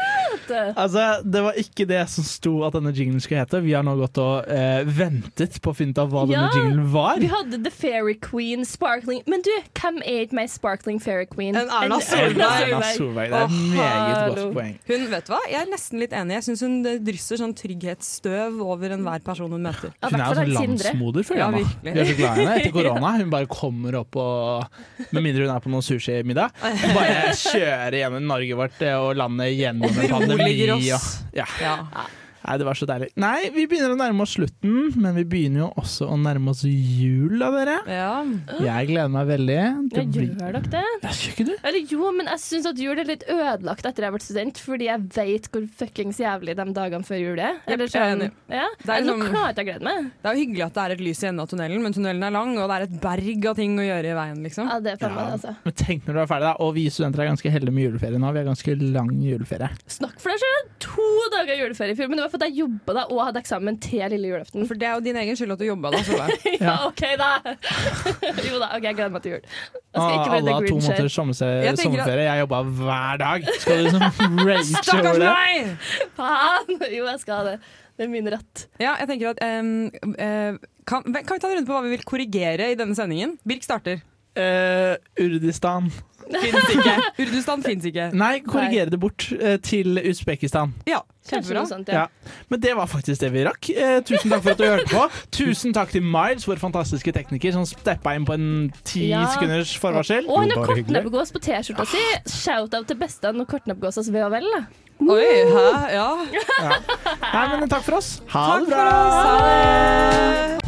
Speaker 5: Altså, Det var ikke det som sto at denne jinglen skulle hete. Vi har nå gått og eh, ventet på å finne ut av hva
Speaker 7: Ja.
Speaker 5: denne jinglen var.
Speaker 7: Vi hadde The Fairy Queen, Sparkling Men du, hvem er ikke mer Sparkling Fairy Queen?
Speaker 6: En Erna
Speaker 7: enn
Speaker 6: Solberg.
Speaker 5: Erna Solberg. Det er
Speaker 6: Å,
Speaker 5: et meget godt
Speaker 7: hallo.
Speaker 5: poeng.
Speaker 6: Hun, vet du hva? Jeg er nesten litt enig. Jeg syns hun drysser sånn trygghetsstøv over enhver person hun møter.
Speaker 5: Hun
Speaker 7: Ja,
Speaker 5: er jo sånn
Speaker 7: hvertfall Sindre.
Speaker 5: landsmoder, føler
Speaker 6: Ja,
Speaker 5: jeg. nå.
Speaker 6: virkelig.
Speaker 5: Vi er så glad i henne
Speaker 6: (laughs)
Speaker 5: etter korona. Hun bare kommer opp og Med mindre hun er på noen sushimiddag. Bare kjører gjennom Norge vårt eh, og landet gjennom en pandemi.
Speaker 6: Beroliger
Speaker 5: Og,
Speaker 6: oss.
Speaker 5: ja.
Speaker 6: Ja.
Speaker 5: Nei, det var så deilig. Nei, vi begynner å nærme oss slutten, men vi begynner jo også å nærme oss jul, da, dere.
Speaker 6: ja.
Speaker 5: Jeg gleder meg veldig.
Speaker 7: Ja, gjør dere det?
Speaker 5: Ja, Gjør ikke du?
Speaker 7: Eller jo, men jeg syns at jul er litt ødelagt etter jeg ble student, fordi jeg vet hvor fuckings jævlig de dagene før jul er. Eller
Speaker 6: jeg er
Speaker 7: sånn,
Speaker 6: enig.
Speaker 7: ja.
Speaker 6: Det er
Speaker 7: Nå
Speaker 6: liksom-
Speaker 7: klarer jeg ikke å glede meg.
Speaker 6: Det er jo hyggelig at det er et lys i enden av tunnelen, men tunnelen er lang, og det er et berg av ting å gjøre i veien, liksom.
Speaker 7: Ja, det er faen meg det, altså.
Speaker 5: Men tenk når du er ferdig, da. Og vi studenter er ganske heldige med juleferie nå. Vi har ganske lang juleferie.
Speaker 7: Snakk for deg selv! To dager juleferie i fjor, men det var fordi jeg jobba da og hadde eksamen til lille julaften. (laughs)
Speaker 6: For det er jo din egen skyld at du jobba da, (laughs) Solveig.
Speaker 7: Ja, OK, da! (laughs) jo da, ok, jeg gleder meg til jul. Jeg skal
Speaker 5: Ah,
Speaker 7: ikke bli
Speaker 5: Alle
Speaker 7: The
Speaker 5: har to
Speaker 7: Grinch
Speaker 5: måneder
Speaker 7: her.
Speaker 5: sommerse-
Speaker 6: Jeg tenker at-
Speaker 5: sommerferie. Jeg jobba hver dag. Skal du liksom
Speaker 6: (laughs)
Speaker 5: rage over
Speaker 6: Stakkars
Speaker 5: det?
Speaker 6: meg!
Speaker 7: Faen! (laughs) Jo, jeg skal det. Det er min rett.
Speaker 6: Ja, jeg tenker at em, eh, kan, kan vi ta en runde på hva vi vil korrigere i denne sendingen? Birk starter.
Speaker 5: Eh, Urdistan.
Speaker 6: Fins ikke. (laughs) Urdustan fins ikke.
Speaker 5: Nei, korrigere det bort eh, til Usbekistan.
Speaker 6: Ja,
Speaker 7: Kanskje
Speaker 6: kjempebra.
Speaker 7: noe sånt, ja.
Speaker 5: Ja. Men det var faktisk det vi rakk. Eh, tusen takk for at du hørte (laughs) på. Tusen takk til Miles, vår fantastiske tekniker, som steppa inn på en ti
Speaker 7: Ja.
Speaker 5: sekunders forvarsel.
Speaker 7: Og han
Speaker 8: Jo,
Speaker 7: har
Speaker 8: bare hyggelig.
Speaker 7: kortnebbegås på T-skjorta si. Shout-out til Bestan og kortnebbegåsas ve og vel. da.
Speaker 6: Oi, hæ? Ja.
Speaker 5: Nei, men takk for oss. Ha
Speaker 6: Takk
Speaker 5: det
Speaker 6: for
Speaker 5: bra.
Speaker 6: oss. Ha det.